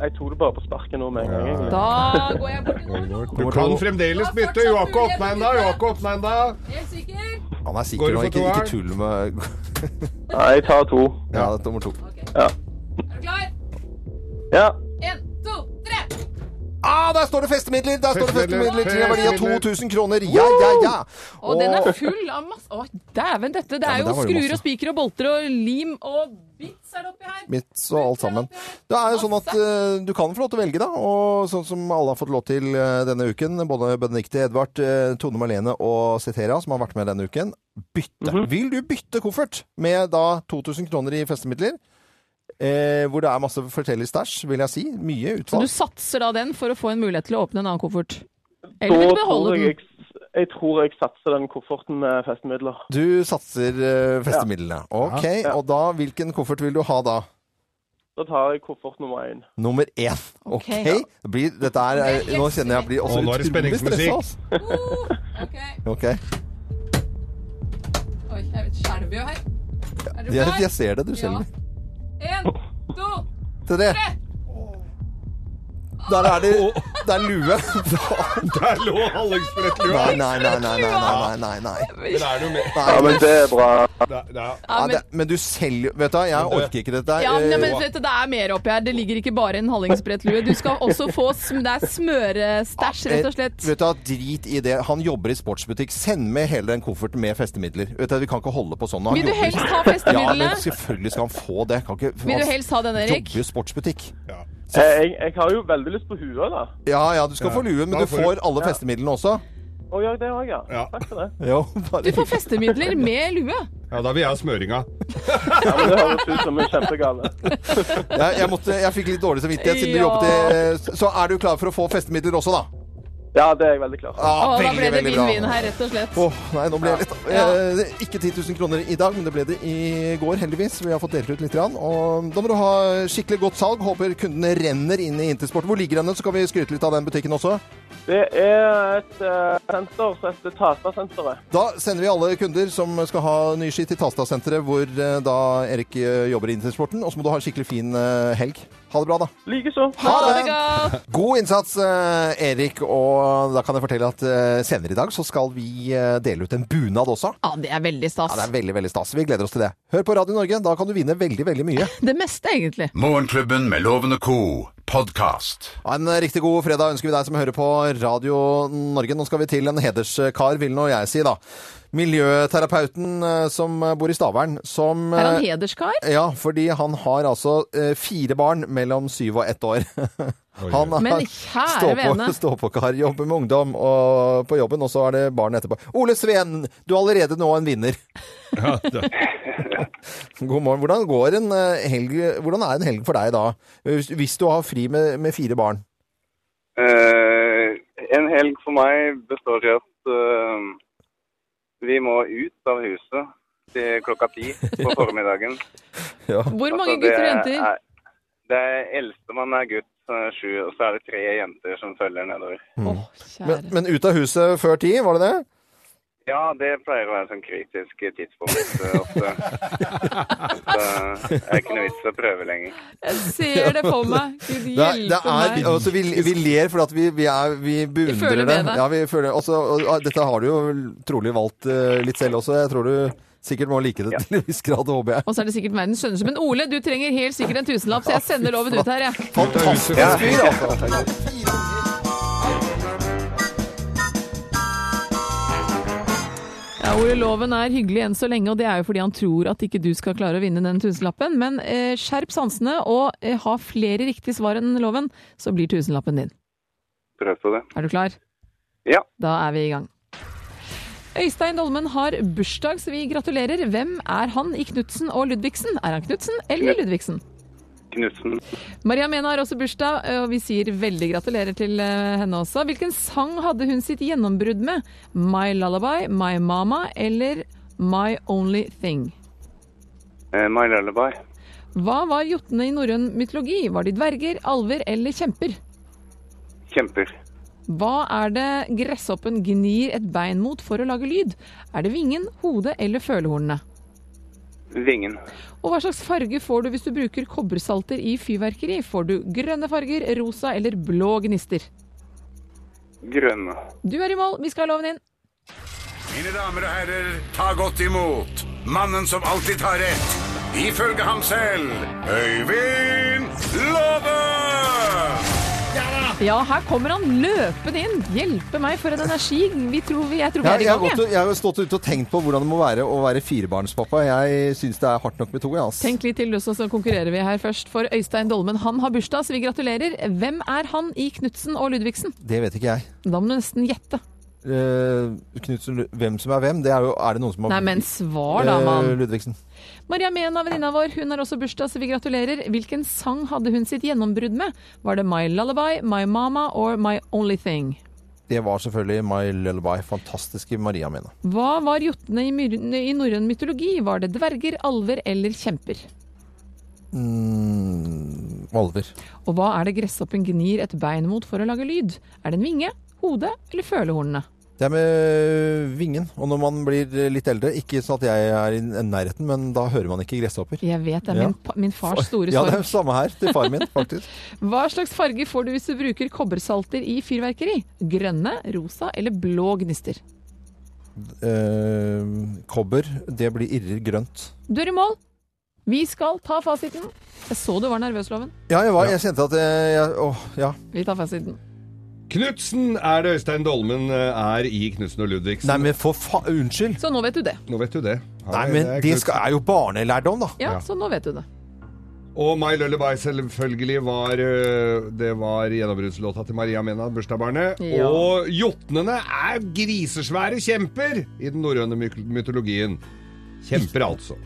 [SPEAKER 11] Jeg tok det bare på sparket nå med en gang. egentlig.
[SPEAKER 3] Da går jeg bort til nummer to.
[SPEAKER 4] Du kan fremdeles bytte. Jo, har ikke åpna ennå. Jo, har ikke åpna ennå.
[SPEAKER 3] Helt sikker?
[SPEAKER 2] (laughs) Han er
[SPEAKER 4] Går
[SPEAKER 2] sikker
[SPEAKER 4] du
[SPEAKER 2] nå.
[SPEAKER 4] for
[SPEAKER 2] Ikke,
[SPEAKER 4] toeren?
[SPEAKER 2] ikke tull med
[SPEAKER 11] Nei, jeg tar to.
[SPEAKER 2] (laughs) Ja, det er nummer to.
[SPEAKER 11] Ja.
[SPEAKER 3] Er du klar?
[SPEAKER 11] ja.
[SPEAKER 3] Én, to, tre!
[SPEAKER 2] Ah, der står det festemidler! Der står det
[SPEAKER 4] Festemidler,
[SPEAKER 2] festemidler til en verdi av
[SPEAKER 4] festemidler.
[SPEAKER 2] 2000 kroner. Ja, ja, ja!
[SPEAKER 3] Og den er full av masse Å, dæven dette! Det
[SPEAKER 2] Ja, men der
[SPEAKER 3] er jo
[SPEAKER 2] var det
[SPEAKER 3] skruer
[SPEAKER 2] masse.
[SPEAKER 3] og spiker og bolter og lim og bits er det oppi her.
[SPEAKER 2] Mitt og alt sammen. Det er jo sånn at eh, du kan få lov til å velge, da. Og sånn som alle har fått lov til eh, denne uken, både Benedicte Edvard, eh, Tone Marlene og Cetera, som har vært med denne uken, bytte.
[SPEAKER 4] Mhm.
[SPEAKER 2] Vil du bytte koffert med da 2000 kroner i festemidler? Eh, hvor det er masse forskjellig stæsj, vil jeg si. Mye
[SPEAKER 3] Så
[SPEAKER 2] utvalg.
[SPEAKER 3] du satser da den for å få en mulighet til å åpne en annen koffert? Eller vil
[SPEAKER 11] Da
[SPEAKER 3] du
[SPEAKER 11] tror
[SPEAKER 3] beholde
[SPEAKER 11] jeg
[SPEAKER 3] den?
[SPEAKER 11] jeg, jeg tror jeg satser den kofferten med festemidler.
[SPEAKER 2] Du satser eh, festemidlene. Ok, og da hvilken koffert vil du ha da?
[SPEAKER 11] Da tar jeg koffert nummer én.
[SPEAKER 2] Nummer én. Ok.
[SPEAKER 3] Ok.
[SPEAKER 2] Det blir, dette er, er, nå kjenner jeg jeg blir også
[SPEAKER 4] Å, nå er det
[SPEAKER 2] utrolig
[SPEAKER 4] spenningsmusikk.
[SPEAKER 2] stressa. altså.
[SPEAKER 3] Ok.
[SPEAKER 2] (laughs) Ok.
[SPEAKER 3] Oi, det er et skjelv jo her. Er
[SPEAKER 2] Jeg, jeg ser det, du skjelver.
[SPEAKER 3] Én, to
[SPEAKER 2] Tre. Der er det Det er lue.
[SPEAKER 4] Der lå hallingsbrettlua.
[SPEAKER 2] Nei, nei, nei, nei, nei, nei, nei, nei.
[SPEAKER 4] Men er det noe mer?
[SPEAKER 2] Nei,
[SPEAKER 11] men det er bra.
[SPEAKER 4] Da, da.
[SPEAKER 3] ja,
[SPEAKER 2] Nei,
[SPEAKER 3] men,
[SPEAKER 2] det, men du selger Vet du, hva, jeg orker ikke dette. her.
[SPEAKER 3] ja, men, men
[SPEAKER 2] Eh,
[SPEAKER 3] vet du, Det er mer oppi her. Det ligger ikke bare en hallingsbrettlue. Du skal også få sm det er smørestæsj, rett og slett.
[SPEAKER 2] eh, Vet du, hva, Drit i det. Han jobber i sportsbutikk. Send med hele den kofferten med festemidler. Vet du, Vi kan ikke holde på sånn. Han
[SPEAKER 3] Vil du
[SPEAKER 2] jobber i-
[SPEAKER 3] helst ha
[SPEAKER 2] Ja,
[SPEAKER 3] festemidlene?
[SPEAKER 2] men selvfølgelig skal han få det. Kan ikke,
[SPEAKER 3] Vil du
[SPEAKER 2] han
[SPEAKER 3] helst ha den, Erik?
[SPEAKER 2] Jobber i sportsbutikk.
[SPEAKER 11] Jeg, Eh, jeg, jeg har jo veldig lyst på huet, da.
[SPEAKER 2] Ja ja, du skal
[SPEAKER 4] Ja.
[SPEAKER 2] få lue, men
[SPEAKER 4] Da
[SPEAKER 2] du
[SPEAKER 4] får du-
[SPEAKER 2] får alle festemidlene også.
[SPEAKER 11] Å, gjør jeg det òg, ja?
[SPEAKER 4] Ja.
[SPEAKER 11] Takk for det.
[SPEAKER 2] Jo, bare
[SPEAKER 3] Du får festemidler med lue.
[SPEAKER 4] ja, da vil jeg ha smøringa.
[SPEAKER 11] Ja, men det høres ut som en kjempegale.
[SPEAKER 2] jeg, jeg, måtte, jeg fikk litt dårlig samvittighet siden du
[SPEAKER 3] Ja.
[SPEAKER 2] jobbet i eh, Så er du klar for å få festemidler også, da?
[SPEAKER 11] Ja, det er jeg veldig klar for.
[SPEAKER 2] Ah,
[SPEAKER 3] Å, da ble det
[SPEAKER 2] veldig bra.
[SPEAKER 3] vinn-vinn her, rett og slett.
[SPEAKER 2] Åh, nei, nå ble jeg litt
[SPEAKER 3] Ja.
[SPEAKER 2] eh, Ikke 10 000 kroner i dag, men det ble det i går, heldigvis. Vi har fått delt ut litt. Grann. Og da må du ha skikkelig godt salg. Håper kundene renner inn i Intersport. Hvor ligger denne, så kan vi skryte litt av den butikken også.
[SPEAKER 11] Det er et eh, senter som heter Tasta-senteret.
[SPEAKER 2] Da sender vi alle kunder som skal ha ny ski til Tasta-senteret, hvor eh, da Erik eh, jobber i Intersporten. Og så må du ha en skikkelig fin eh, helg. Ha det bra, da.
[SPEAKER 11] Likeså.
[SPEAKER 3] Ha det godt!
[SPEAKER 2] God innsats, eh, Erik. Og da kan jeg fortelle at eh, senere i dag så skal vi eh, dele ut en bunad også.
[SPEAKER 3] Ja, det er veldig
[SPEAKER 2] Ja,
[SPEAKER 3] stas.
[SPEAKER 2] det er veldig, veldig stas. Vi gleder oss til det. Hør på Radio Norge, da kan du vinne veldig, veldig mye.
[SPEAKER 3] Det meste, egentlig.
[SPEAKER 1] Morgenklubben med Lovende Co. Podcast.
[SPEAKER 2] Ha en eh, riktig god fredag ønsker vi deg som hører på Radio Norge. Nå skal vi til en hederskar, vil nå jeg si, da. Miljøterapeuten eh, som bor i Stavern, som
[SPEAKER 3] Er han
[SPEAKER 2] eh,
[SPEAKER 3] hederskar?
[SPEAKER 2] Ja, fordi han har altså eh, fire barn mellom syv og ett år. Han
[SPEAKER 3] Men
[SPEAKER 2] har
[SPEAKER 3] kjære vene.
[SPEAKER 2] stå-på-kar, jobber med ungdom og på jobben, og så er det barn etterpå. Ole Sveen, du er allerede nå en vinner.
[SPEAKER 4] Ja, da.
[SPEAKER 5] (laughs)
[SPEAKER 2] God morgen. Hvordan, går en eh, helg, hvordan er en helg for deg da, hvis, hvis du har fri med, med fire barn?
[SPEAKER 12] Eh, en helg for meg består i at eh, vi må ut av huset til klokka ti på formiddagen.
[SPEAKER 3] (laughs) Hvor
[SPEAKER 12] Altså,
[SPEAKER 3] mange
[SPEAKER 12] det
[SPEAKER 3] gutter og jenter?
[SPEAKER 12] er- Det er eldstemann er gutt, eh, sju, og så er det tre jenter som følger nedover.
[SPEAKER 3] Å,
[SPEAKER 2] Men,
[SPEAKER 3] kjære.
[SPEAKER 2] men ut av huset før ti, var det det?
[SPEAKER 12] Ja, det pleier å være sånn kritisk tidspunkt eh, ofte. Så det er ikke noe vits å prøve lenger.
[SPEAKER 3] Jeg ser det for meg.
[SPEAKER 2] (laughs)
[SPEAKER 3] Gud
[SPEAKER 2] Det er, det
[SPEAKER 3] hjelpe
[SPEAKER 2] er,
[SPEAKER 3] meg.
[SPEAKER 2] altså, vi, vi ler fordi at vi, vi, er, vi beundrer
[SPEAKER 3] føler
[SPEAKER 2] det.
[SPEAKER 3] med deg.
[SPEAKER 2] Ja, vi føler, også, og, og, dette har du jo trolig valgt eh, litt selv også. Jeg tror du sikkert må like det til en viss grad, håper jeg.
[SPEAKER 3] Og så er det sikkert verdens skjønneste. Men Ole, du trenger helt sikkert en tusenlapp, så jeg sender loven ut her, jeg.
[SPEAKER 2] Fantastisk fyr, altså!
[SPEAKER 3] Ja, Ole Loven er hyggelig enn så lenge, og det er jo fordi han tror at ikke du skal klare å vinne den tusenlappen. Men eh, skjerp sansene og eh, ha flere riktige svar enn Loven, så blir tusenlappen din.
[SPEAKER 12] Prøv på det.
[SPEAKER 3] Er du klar?
[SPEAKER 12] Ja.
[SPEAKER 3] Da er vi i gang. Øystein Dolmen har bursdag, så vi gratulerer. Hvem er han i Knutsen og Ludvigsen? Er han Knutsen eller Ludvigsen?
[SPEAKER 12] Knutsen.
[SPEAKER 3] Maria Mena har også bursdag, eh, og vi sier veldig gratulerer til eh, henne også. Hvilken sang hadde hun sitt gjennombrudd med? My Lullaby, My Mama eller My Only Thing?
[SPEAKER 12] Eh, My Lullaby.
[SPEAKER 3] Hva var jotnene i norrøn mytologi? Var de dverger, alver eller kjemper?
[SPEAKER 12] Kjemper.
[SPEAKER 3] Hva er det gresshoppen gnir et bein mot for å lage lyd? Er det vingen, hodet eller følehornene?
[SPEAKER 12] Vingen.
[SPEAKER 3] Og hva slags farge får du hvis du bruker kobbersalter i fyrverkeri? Får du grønne farger, rosa eller blå gnister?
[SPEAKER 12] Grønne.
[SPEAKER 3] Du er i mål, vi skal ha loven inn.
[SPEAKER 13] Mine damer og herrer, ta godt imot mannen som alltid tar rett, ifølge ham selv, Øyvind Låve!
[SPEAKER 3] Ja, her kommer han løpende inn. Hjelpe meg for en energi. Vi tror vi, jeg tror vi
[SPEAKER 2] Jeg,
[SPEAKER 3] er i
[SPEAKER 2] jeg, har
[SPEAKER 3] gang.
[SPEAKER 2] gått,
[SPEAKER 3] Jeg.
[SPEAKER 2] og- jeg har stått ute og tenkt på hvordan det må være å være firebarnspappa. Jeg syns det er hardt nok med to. jeg, ass.
[SPEAKER 3] Tenk litt til, du også, så konkurrerer vi her først. For Øystein Dolmen, han har bursdag, så vi gratulerer. Hvem er han i Knutsen og Ludvigsen?
[SPEAKER 2] Det vet ikke jeg.
[SPEAKER 3] Da må du nesten gjette.
[SPEAKER 2] Eh, Knutsen, Lu- hvem som er hvem? Det er, jo, er det noen som har
[SPEAKER 3] Nei, men svar da,
[SPEAKER 2] Eh,
[SPEAKER 3] mann.
[SPEAKER 2] Ludvigsen.
[SPEAKER 3] Maria Mena, venninna vår, hun har også bursdag, så vi gratulerer. Hvilken sang hadde hun sitt gjennombrudd med? Var det My Lullaby, My Mama or My Only Thing?
[SPEAKER 2] Det var selvfølgelig My Lullaby. Fantastiske Maria mine.
[SPEAKER 3] Hva var jotnene i, myr- i norrøn mytologi? Var det dverger, alver eller kjemper?
[SPEAKER 2] Mm, Alver.
[SPEAKER 3] Og hva er det gresshoppen gnir et bein mot for å lage lyd? Er det en vinge, hodet eller følehornene?
[SPEAKER 2] Det er med øh, vingen. Og når man blir litt eldre, ikke sånn at jeg er i nærheten, men da hører man ikke gresshopper.
[SPEAKER 3] Jeg vet det er
[SPEAKER 2] Ja.
[SPEAKER 3] min, pa- min fars store
[SPEAKER 2] Ja, det
[SPEAKER 3] sorg.
[SPEAKER 2] er samme her til far min, faktisk. (laughs)
[SPEAKER 3] Hva slags farge får du hvis du bruker kobbersalter i fyrverkeri? Grønne, rosa eller blå gnister?
[SPEAKER 2] Eh, kobber, det blir irrer grønt.
[SPEAKER 3] Du er i mål! Vi skal ta fasiten. Jeg så du var nervøs, Loven.
[SPEAKER 2] Ja, jeg, var, jeg kjente at jeg, jeg Åh, ja.
[SPEAKER 3] Vi tar fasiten.
[SPEAKER 5] Knutsen er det Øystein Dolmen eh, er i Knutsen og Ludvigsen.
[SPEAKER 2] Nei, men for faen Unnskyld!
[SPEAKER 3] Så nå vet du det.
[SPEAKER 5] Nå vet du det.
[SPEAKER 2] Nei,
[SPEAKER 5] Hei,
[SPEAKER 2] men
[SPEAKER 5] det er
[SPEAKER 2] det
[SPEAKER 5] Knutsen.
[SPEAKER 2] skal, er jo barnelærdom, da.
[SPEAKER 3] Ja,
[SPEAKER 5] Ja.
[SPEAKER 3] så nå vet du det.
[SPEAKER 5] Og My Lullaby selvfølgelig var eh, Det var gjennombruddslåta til Maria Mena, bursdagsbarnet.
[SPEAKER 3] Ja.
[SPEAKER 5] Og jotnene er grisesvære kjemper i den norrøne myk- mytologien. Kjemper, altså.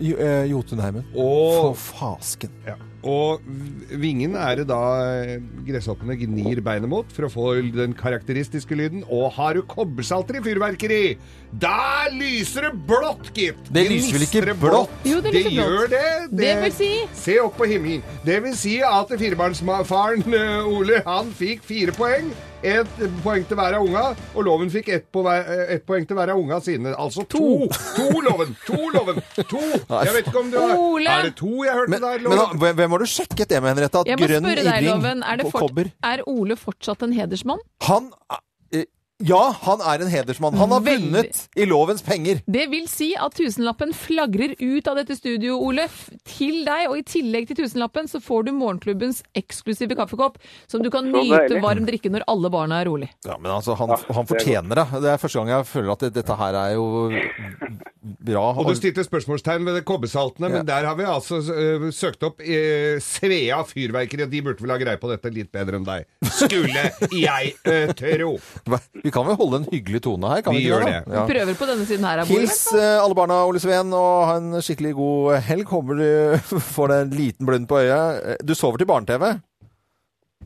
[SPEAKER 2] Jo- eh, Jotunheimen. For
[SPEAKER 5] Og,
[SPEAKER 2] fasken.
[SPEAKER 5] ja. og v- vingen er det da eh, gresshoppene gnir beinet mot for å få den karakteristiske lyden. Og har du kobbersalter i fyrverkeri, da lyser det blått, gitt!
[SPEAKER 2] Det lyser vel ikke
[SPEAKER 5] Gnistrer
[SPEAKER 2] blått?
[SPEAKER 3] Jo, det
[SPEAKER 5] det,
[SPEAKER 3] lyser blått.
[SPEAKER 5] gjør det.
[SPEAKER 3] Det vil si-
[SPEAKER 5] Se opp på himmelen. Det vil si at firebarnsfaren eh, Ole han fikk fire poeng. Ett poeng til hver av unga, og loven fikk ett, på hver, eh, ett poeng til hver av unga sine. Altså to. To, loven! To, loven!
[SPEAKER 2] (laughs)
[SPEAKER 5] To! Jeg vet ikke om du har
[SPEAKER 3] Ole!
[SPEAKER 5] Er det to jeg hørte
[SPEAKER 2] Men,
[SPEAKER 5] der,
[SPEAKER 2] men da,
[SPEAKER 5] loven?
[SPEAKER 2] hvem hvem har du sjekket det med, Henriette? At
[SPEAKER 3] Jeg må
[SPEAKER 2] grønn
[SPEAKER 3] spørre deg,
[SPEAKER 2] irring
[SPEAKER 3] Loven. Er, det
[SPEAKER 2] på
[SPEAKER 3] fort,
[SPEAKER 2] kobber
[SPEAKER 3] er Ole fortsatt en hedersmann?
[SPEAKER 2] Han eh, Ja, han er en hedersmann. Han har
[SPEAKER 3] Veldig.
[SPEAKER 2] vunnet i lovens penger.
[SPEAKER 3] Det vil si at tusenlappen flagrer ut av dette studio, Ole, f- til deg. Og i tillegg til tusenlappen så får du morgenklubbens eksklusive kaffekopp, som du kan
[SPEAKER 12] Så
[SPEAKER 3] nyte
[SPEAKER 12] deilig.
[SPEAKER 3] varm drikke når alle barna er rolig.
[SPEAKER 2] Ja, men altså, han,
[SPEAKER 12] Ja,
[SPEAKER 2] han
[SPEAKER 12] det er
[SPEAKER 2] fortjener det. Det er første gang jeg føler at det, dette her er jo bra.
[SPEAKER 5] Og du stilte spørsmålstegn ved det kobbersaltene, men der har vi altså eh, søkt opp eh, Svea fyrverkeri, og de burde vel ha greie på dette litt bedre enn deg. Skulle jeg eh, tro.
[SPEAKER 2] Vi kan vel holde en hyggelig tone her? Kan vi,
[SPEAKER 5] Vi
[SPEAKER 2] ikke
[SPEAKER 5] gjør
[SPEAKER 2] det? da?
[SPEAKER 5] det.
[SPEAKER 2] Ja.
[SPEAKER 3] Prøver på denne siden her av bordet. i hvert
[SPEAKER 2] Hils
[SPEAKER 3] fall.
[SPEAKER 2] eh, alle barna, Ole Sveen, og ha en skikkelig god helg. Håper du (laughs) får deg en liten blund på øyet. Eh, Du sover til barne-TV?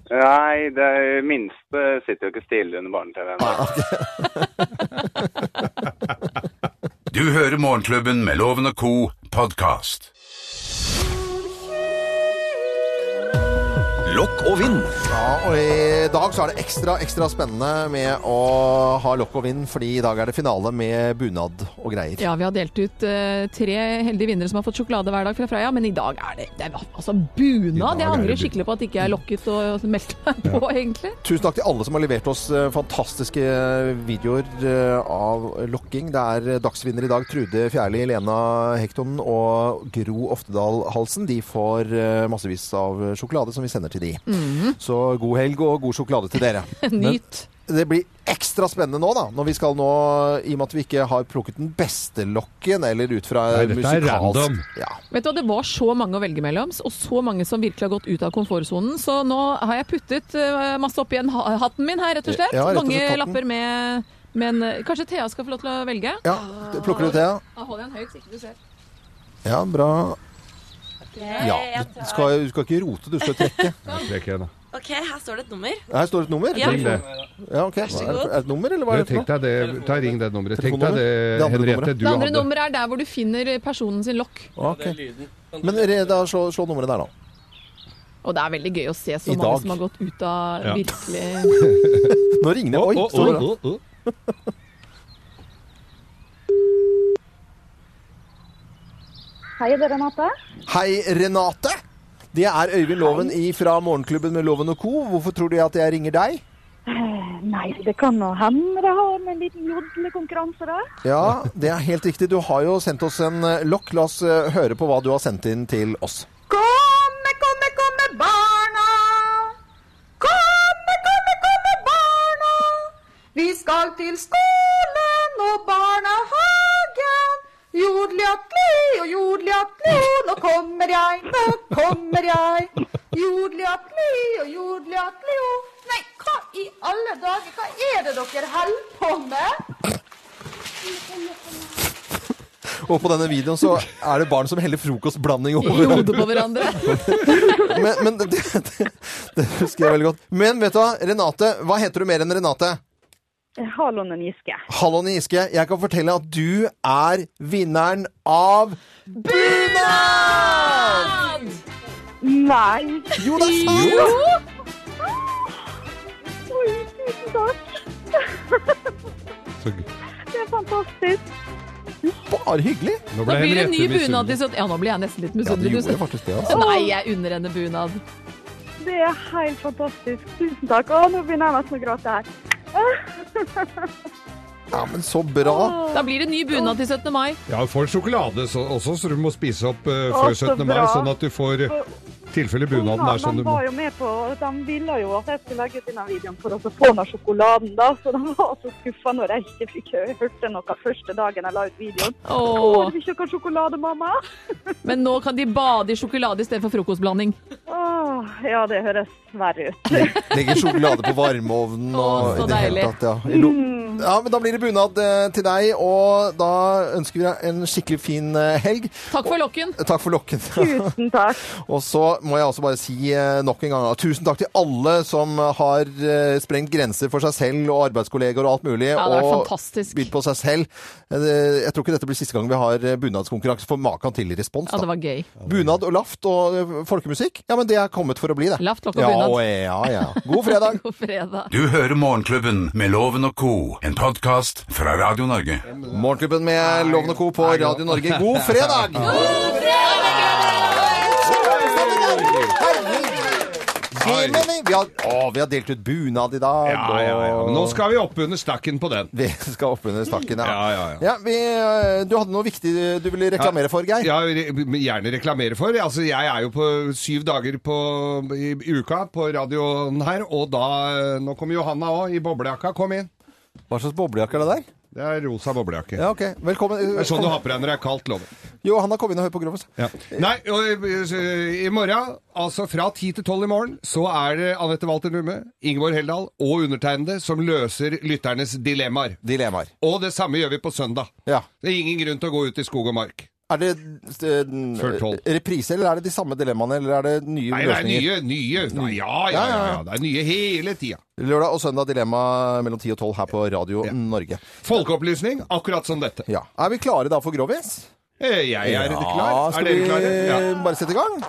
[SPEAKER 12] Nei, det minste sitter jo ikke stille under
[SPEAKER 5] Ah,
[SPEAKER 12] barne-TV.
[SPEAKER 13] Du hører Morgenklubben med Loven og Co. podkast.
[SPEAKER 1] Lokk og vind.
[SPEAKER 2] Ja, og i dag så er det ekstra, ekstra spennende med å ha lokk og vind, fordi i dag er det finale med bunad og greier.
[SPEAKER 3] Ja, vi har delt ut eh, tre heldige vinnere som har fått sjokolade hver dag fra Freia, men i dag er det, det er, altså bunad.
[SPEAKER 5] I dag
[SPEAKER 3] Jeg
[SPEAKER 5] er
[SPEAKER 3] angrer
[SPEAKER 5] det
[SPEAKER 3] skikkelig på at ikke jeg er lokket og, og meldte meg på, egentlig.
[SPEAKER 2] Tusen takk til alle som har levert oss eh, fantastiske videoer eh, av lokking. Det er eh, dagsvinner i dag. Trude Fjerli, Lena Hektonen og Gro Oftedal Halsen. De får eh, massevis av sjokolade som vi sender til de. Så god helg og god sjokolade til dere.
[SPEAKER 3] Nyt.
[SPEAKER 2] det blir ekstra spennende nå, da. Når vi skal nå, i og med at vi ikke har plukket den beste lokken, eller ut fra
[SPEAKER 5] Nei, dette er
[SPEAKER 2] musikalsk
[SPEAKER 5] random.
[SPEAKER 2] ja.
[SPEAKER 3] Vet du hva, Det var så mange å velge mellom, og så mange som virkelig har gått ut av komfortsonen. Så nå har jeg puttet eh, masse oppi en ha- hatten min her, rett og slett.
[SPEAKER 2] Ja, rett og slett
[SPEAKER 3] mange
[SPEAKER 2] hatten.
[SPEAKER 3] lapper med Men eh, kanskje Thea skal få lov til å velge?
[SPEAKER 2] ja. Plukker du til? ja?
[SPEAKER 3] Da holder jeg den høyt, så ikke du ser.
[SPEAKER 2] Ja, bra. Ja. Du skal, du skal ikke rote, du skal trekke.
[SPEAKER 5] Trekk igjen, da.
[SPEAKER 9] OK, her står det et nummer.
[SPEAKER 2] Her står det et nummer.
[SPEAKER 9] Ja.
[SPEAKER 5] Ring det.
[SPEAKER 2] Ja, ok. Er det, er det et nummer, eller hva er
[SPEAKER 5] Du,
[SPEAKER 2] det for
[SPEAKER 5] tenk
[SPEAKER 2] noe?
[SPEAKER 5] deg det. Ta Ring det nummeret. Tenk deg
[SPEAKER 2] Telefonnummer?
[SPEAKER 5] det, eh,
[SPEAKER 2] Det andre
[SPEAKER 5] Henriette,
[SPEAKER 2] nummeret.
[SPEAKER 5] du
[SPEAKER 3] Det andre
[SPEAKER 5] hadde.
[SPEAKER 3] nummeret er der hvor du finner personen sin lokk.
[SPEAKER 2] Ok. Men re, da, slå, slå nummeret der, da.
[SPEAKER 3] Og det er veldig gøy å se så
[SPEAKER 2] I
[SPEAKER 3] mange
[SPEAKER 2] dag.
[SPEAKER 3] som har gått ut av
[SPEAKER 5] Ja.
[SPEAKER 3] virkelig
[SPEAKER 2] Nå ringer det. Oi,
[SPEAKER 5] Å,
[SPEAKER 2] står det.
[SPEAKER 5] å, å, å.
[SPEAKER 10] Hei, det er Renate.
[SPEAKER 2] Hei, Renate. Det er Øyvind Loven fra Morgenklubben med Loven og Co. Hvorfor tror du at jeg ringer deg?
[SPEAKER 10] Nei, det kan nå hende det har med en liten jodlekonkurranse, da.
[SPEAKER 2] Ja, det er helt riktig. Du har jo sendt oss en eh, lokk. La oss eh, høre på hva du har sendt inn til oss.
[SPEAKER 9] Komme, komme, komme, barna! Komme, komme, komme, barna! Vi skal til skolen og barnehagen. Jodliatli og jodliatli, nå kommer jeg, nå kommer jeg. Jodliatli og jodliatli Nei, hva i alle dager, hva er det dere holder på med?
[SPEAKER 2] Og på denne videoen så er det barn som heller frokostblanding
[SPEAKER 3] i
[SPEAKER 2] over.
[SPEAKER 3] hodet på hverandre.
[SPEAKER 2] Men, men det, det, det husker jeg veldig godt. Men vet du hva, Renate. Hva heter du mer enn Renate?
[SPEAKER 10] Halonen Giske.
[SPEAKER 2] Hallon Giske, jeg kan fortelle at du er vinneren av Bunad!
[SPEAKER 10] Nei.
[SPEAKER 2] Jo, det er sant!
[SPEAKER 10] Oi, tusen takk.
[SPEAKER 5] Så gøy.
[SPEAKER 10] Det er fantastisk.
[SPEAKER 2] Bare hyggelig.
[SPEAKER 5] Nå
[SPEAKER 3] Da
[SPEAKER 5] ble
[SPEAKER 3] blir det ny
[SPEAKER 5] Henriette
[SPEAKER 3] bunad.
[SPEAKER 5] misunnelig.
[SPEAKER 3] liksom. Ja, nå blir jeg nesten litt
[SPEAKER 2] Ja, det
[SPEAKER 3] misunnelig.
[SPEAKER 2] gjorde
[SPEAKER 3] du.
[SPEAKER 2] faktisk det,
[SPEAKER 3] Så
[SPEAKER 2] altså.
[SPEAKER 3] Nei, jeg unner henne bunad.
[SPEAKER 10] Det er helt fantastisk. Tusen takk. Å, nå begynner jeg nesten å gråte her.
[SPEAKER 2] Ja, men så bra.
[SPEAKER 3] Da blir det ny bunad til 17. mai.
[SPEAKER 5] Ja, du får sjokolade så, også, så du må spise opp eh, før
[SPEAKER 10] Å, så
[SPEAKER 5] 17. mai,
[SPEAKER 10] bra.
[SPEAKER 5] sånn at du får eh, tilfelle bunaden er sånn
[SPEAKER 10] de
[SPEAKER 5] du må
[SPEAKER 10] var jo med på De ville jo at jeg skulle legge ut denne videoen for å få meg sjokoladen, da. Så de var så skuffa når jeg ikke fikk hørte noe første dagen jeg la ut videoen. Å,
[SPEAKER 3] Åh.
[SPEAKER 10] du vil ikke ha sjokolade, mamma?
[SPEAKER 3] Men nå kan de bade i sjokolade istedenfor frokostblanding.
[SPEAKER 10] Åh, ja, det høres verre ut.
[SPEAKER 2] Legger sjokolade på varmeovnen
[SPEAKER 3] Å,
[SPEAKER 2] og
[SPEAKER 3] så
[SPEAKER 2] i det hele
[SPEAKER 3] deilig.
[SPEAKER 2] tatt. Ja. I lo- ja, men da blir det bunad eh, til deg, og da ønsker vi deg en skikkelig fin eh, helg.
[SPEAKER 3] Takk for lokken.
[SPEAKER 2] Takk for lokken.
[SPEAKER 10] Tusen takk.
[SPEAKER 2] Og så må jeg også bare si eh, nok en gang at tusen takk til alle som har eh, sprengt grenser for seg selv og arbeidskolleger og alt mulig.
[SPEAKER 3] Ja, det er
[SPEAKER 2] og
[SPEAKER 3] fantastisk.
[SPEAKER 2] bydd på seg selv. Eh, det- Jeg tror ikke dette blir siste gang vi har eh, bunadskonkurranse for maken til respons.
[SPEAKER 3] Ja, det
[SPEAKER 2] Da.
[SPEAKER 3] var gøy.
[SPEAKER 2] Bunad og laft og eh, folkemusikk, ja, men det er kommet for å bli, det.
[SPEAKER 3] Laft, lokk og
[SPEAKER 2] ja,
[SPEAKER 3] bunad.
[SPEAKER 2] og- Ja, ja. God fredag!
[SPEAKER 3] (laughs) God fredag.
[SPEAKER 1] Du hører Morgenklubben med Loven og Co., en podkast fra Radio Norge.
[SPEAKER 2] Morgenklubben med Loven og Co. på Radio Norge.
[SPEAKER 5] (laughs)
[SPEAKER 2] God fredag! Herregud! Vi har, å, vi har delt ut bunad i dag.
[SPEAKER 5] Ja, ja, ja.
[SPEAKER 2] og-
[SPEAKER 5] Men nå skal vi opp under stakken på den.
[SPEAKER 2] Vi skal opp under stakken, ja.
[SPEAKER 5] Ja, ja, ja.
[SPEAKER 2] vi, eh, du hadde noe viktig du ville reklamere for, Geir.
[SPEAKER 5] Ja, re- gjerne reklamere for. Altså, jeg er jo på syv dager på, i, i uka på radioen her, og da eh, Nå kommer Johanna òg, i boblejakka. Kom inn.
[SPEAKER 2] Hva slags boblejakke er det der?
[SPEAKER 5] Det er rosa boblejakke.
[SPEAKER 2] Ja, ok. Velkommen. eh,
[SPEAKER 5] Det er sånn du har på deg når det er kaldt, lover.
[SPEAKER 2] Jo, han har kommet inn og hørt på Grovis.
[SPEAKER 5] Ja. Nei, og eh, i morgen, altså fra 10 til 12 i morgen, så er det Anette Walter Numme, Ingeborg Heldal og undertegnede som løser lytternes dilemmaer.
[SPEAKER 2] Dilemmaer.
[SPEAKER 5] Og det samme gjør vi på søndag.
[SPEAKER 2] Ja.
[SPEAKER 5] Det er ingen grunn til å gå ut i skog og mark.
[SPEAKER 2] Er det eh,
[SPEAKER 5] Før tolv.
[SPEAKER 2] reprise, eller er det de samme dilemmaene, eller er det nye
[SPEAKER 5] Nei, det er
[SPEAKER 2] løsninger?
[SPEAKER 5] nye, nye. Nei, ja, ja, ja, ja. Det er nye hele tida.
[SPEAKER 2] Lørdag og søndag dilemma mellom 10 og 12 her på Radio
[SPEAKER 5] Ja.
[SPEAKER 2] Norge.
[SPEAKER 5] Folkeopplysning, akkurat som dette.
[SPEAKER 2] Ja. Er vi klare da for Grovis?
[SPEAKER 5] Eh, Jeg er klar.
[SPEAKER 2] skal
[SPEAKER 5] Er dere klare? Ja.
[SPEAKER 2] vi bare sette i gang?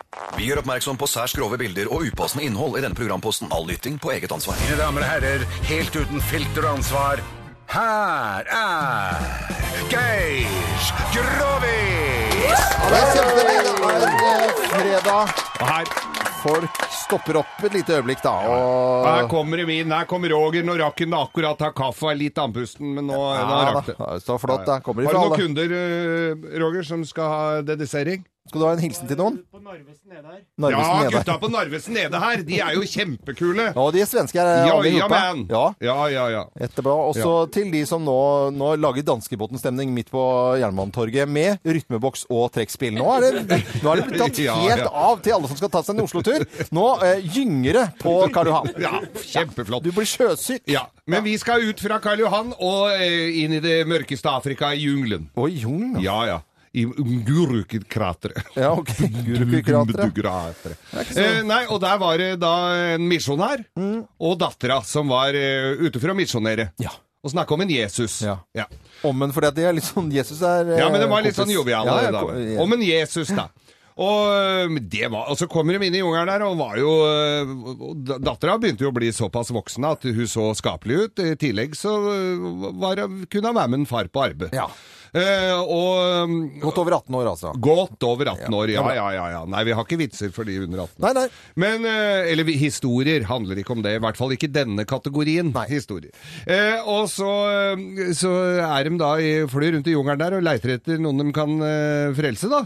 [SPEAKER 14] Vi gjør oppmerksom på særs grove bilder og upassende innhold i denne programposten. All lytting på eget ansvar.
[SPEAKER 1] Mine damer og herrer, helt uten filter og ansvar, her er Geir Grovis!
[SPEAKER 2] Ja, det er kjempebra. Det er en, eh, fredag.
[SPEAKER 5] Og her,
[SPEAKER 2] Folk stopper opp et lite øyeblikk, da. Og
[SPEAKER 5] her kommer det min. Her kommer Roger. Nå rakk han akkurat ta kaffe. Er litt andpusten, men nå, nå
[SPEAKER 2] ja,
[SPEAKER 5] rakk det.
[SPEAKER 2] da. Så flott, da. Kommer de
[SPEAKER 5] Har
[SPEAKER 2] fra
[SPEAKER 5] du noen
[SPEAKER 2] alle.
[SPEAKER 5] kunder, eh, Roger, som skal ha dedisering?
[SPEAKER 2] Skal du ha en hilsen til noen? Narvesen
[SPEAKER 5] Ja,
[SPEAKER 2] nede.
[SPEAKER 5] gutta på Narvesen nede her, de
[SPEAKER 2] (laughs)
[SPEAKER 5] er jo kjempekule.
[SPEAKER 2] Ja, de er svenske her.
[SPEAKER 5] Ja,
[SPEAKER 2] alle i
[SPEAKER 5] ja,
[SPEAKER 2] gruppa.
[SPEAKER 5] man.
[SPEAKER 2] Ja.
[SPEAKER 5] Ja, ja, ja.
[SPEAKER 2] Etterpå. Også til de som nå, nå lager danskebåtenstemning midt på Jernbanetorget med rytmeboks og trekkspill. Nå er det, nå er det blitt tatt
[SPEAKER 5] (laughs) Ja, ja.
[SPEAKER 2] helt av til alle som skal ta seg en Oslo-tur. Nå eh, gynger det på Karl Johan.
[SPEAKER 5] Ja, kjempeflott.
[SPEAKER 2] Du blir sjøsyk.
[SPEAKER 5] Ja, men vi skal ut fra Karl Johan og eh, inn i det mørkeste Afrika, i jungelen.
[SPEAKER 2] Oi, jungelen?
[SPEAKER 5] Ja, ja. I
[SPEAKER 2] (laughs)
[SPEAKER 5] Ngurukikrateret.
[SPEAKER 2] Ja, ok. Ngurukikrateret.
[SPEAKER 5] Ngurukikrateret.
[SPEAKER 2] Det er ikke så- Mm.
[SPEAKER 5] Eh, nei, og der var det da en misjonær og dattera som var eh, ute for å misjonere.
[SPEAKER 2] Ja.
[SPEAKER 5] Og snakke om en Jesus.
[SPEAKER 2] Ja.
[SPEAKER 5] Ja.
[SPEAKER 2] Ommen, fordi at de er litt sånn Jesus er eh,
[SPEAKER 5] Ja, men det var litt
[SPEAKER 2] kompis.
[SPEAKER 5] sånn jovial.
[SPEAKER 2] Ja, ja,
[SPEAKER 5] da.
[SPEAKER 2] ko- ja.
[SPEAKER 5] Om en Jesus,
[SPEAKER 2] (laughs)
[SPEAKER 5] da. Og, øhm, det var, og så kommer de inn i jungelen der, og var jo øh, og da- Dattera begynte jo å bli såpass voksen at hun så skapelig ut. I tillegg så øh, var, kunne hun være med en far på arbeid.
[SPEAKER 2] Ja.
[SPEAKER 5] Eh, og
[SPEAKER 2] Godt over 18 år, altså.
[SPEAKER 5] Godt over 18 år, ja,
[SPEAKER 2] Ja, bra.
[SPEAKER 5] ja, ja, ja. Nei, vi har ikke vitser for de under 18.
[SPEAKER 2] Nei, nei.
[SPEAKER 5] Men, eh, eller vi- historier handler ikke om det, i hvert fall ikke denne kategorien historier. Eh, og så, eh, så er de da i flyr rundt i jungelen der og leiter etter noen de kan eh, frelse da.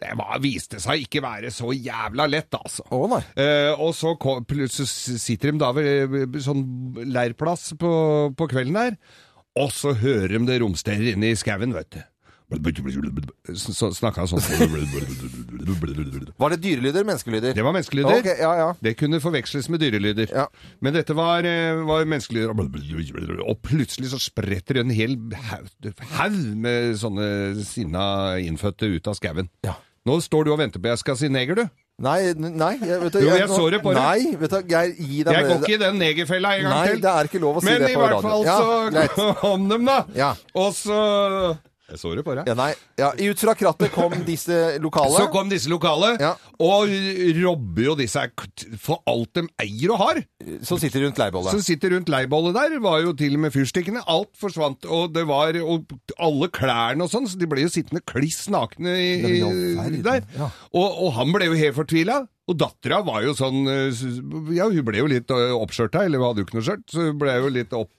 [SPEAKER 5] Det var, viste seg ikke være så jævla lett altså.
[SPEAKER 2] Å nei.
[SPEAKER 5] Eh, og så kom, plutselig sitter de da ved eh, sånn leirplass på, på kvelden der, og så hører de det romsterer inne i skauen, vet du. Så snakka han sånn
[SPEAKER 2] Var det dyrelyder? Menneskelyder?
[SPEAKER 5] Det var menneskelyder.
[SPEAKER 2] Ok, ja, ja.
[SPEAKER 5] Det kunne forveksles med dyrelyder. Men dette var, eh, var menneskelyder. Og plutselig så spretter en hel haug haug med sånne sinna innfødte ut av skauen. Nå står du og venter på jeg skal si neger, du.
[SPEAKER 2] Nei, n- nei jeg, vet du,
[SPEAKER 5] Jo, jeg så det på deg.
[SPEAKER 2] Nei, vet du, jeg gir deg
[SPEAKER 5] Jeg går ikke i den negerfella en gang
[SPEAKER 2] Nei,
[SPEAKER 5] til.
[SPEAKER 2] det er ikke lov å si
[SPEAKER 5] Men
[SPEAKER 2] det
[SPEAKER 5] i
[SPEAKER 2] på
[SPEAKER 5] hvert
[SPEAKER 2] radio.
[SPEAKER 5] fall
[SPEAKER 2] Ja,
[SPEAKER 5] så (laughs) kom dem, da.
[SPEAKER 2] Ja.
[SPEAKER 5] Og så Jeg så det på deg.
[SPEAKER 2] Ja, nei, ja, ut fra krattet
[SPEAKER 5] (laughs)
[SPEAKER 2] kom disse lokale.
[SPEAKER 5] Så kom disse lokale, og robber jo disse her k- for alt de eier og har.
[SPEAKER 2] Som sitter rundt leirbollet.
[SPEAKER 5] Som sitter rundt leirbollet der, var jo til og med fyrstikkene. Alt forsvant, og det var og alle klærne og sånn, så de ble jo sittende kliss nakne i,
[SPEAKER 2] Det er jo
[SPEAKER 5] i,
[SPEAKER 2] verden,
[SPEAKER 5] der.
[SPEAKER 2] ja.
[SPEAKER 5] Og, og han ble jo helt fortvila. Og dattera var jo sånn eh, s- Ja, hun ble jo litt eh, oppskjørta, eller hun hadde jo ikke noe skjørt, så hun ble jo litt opp.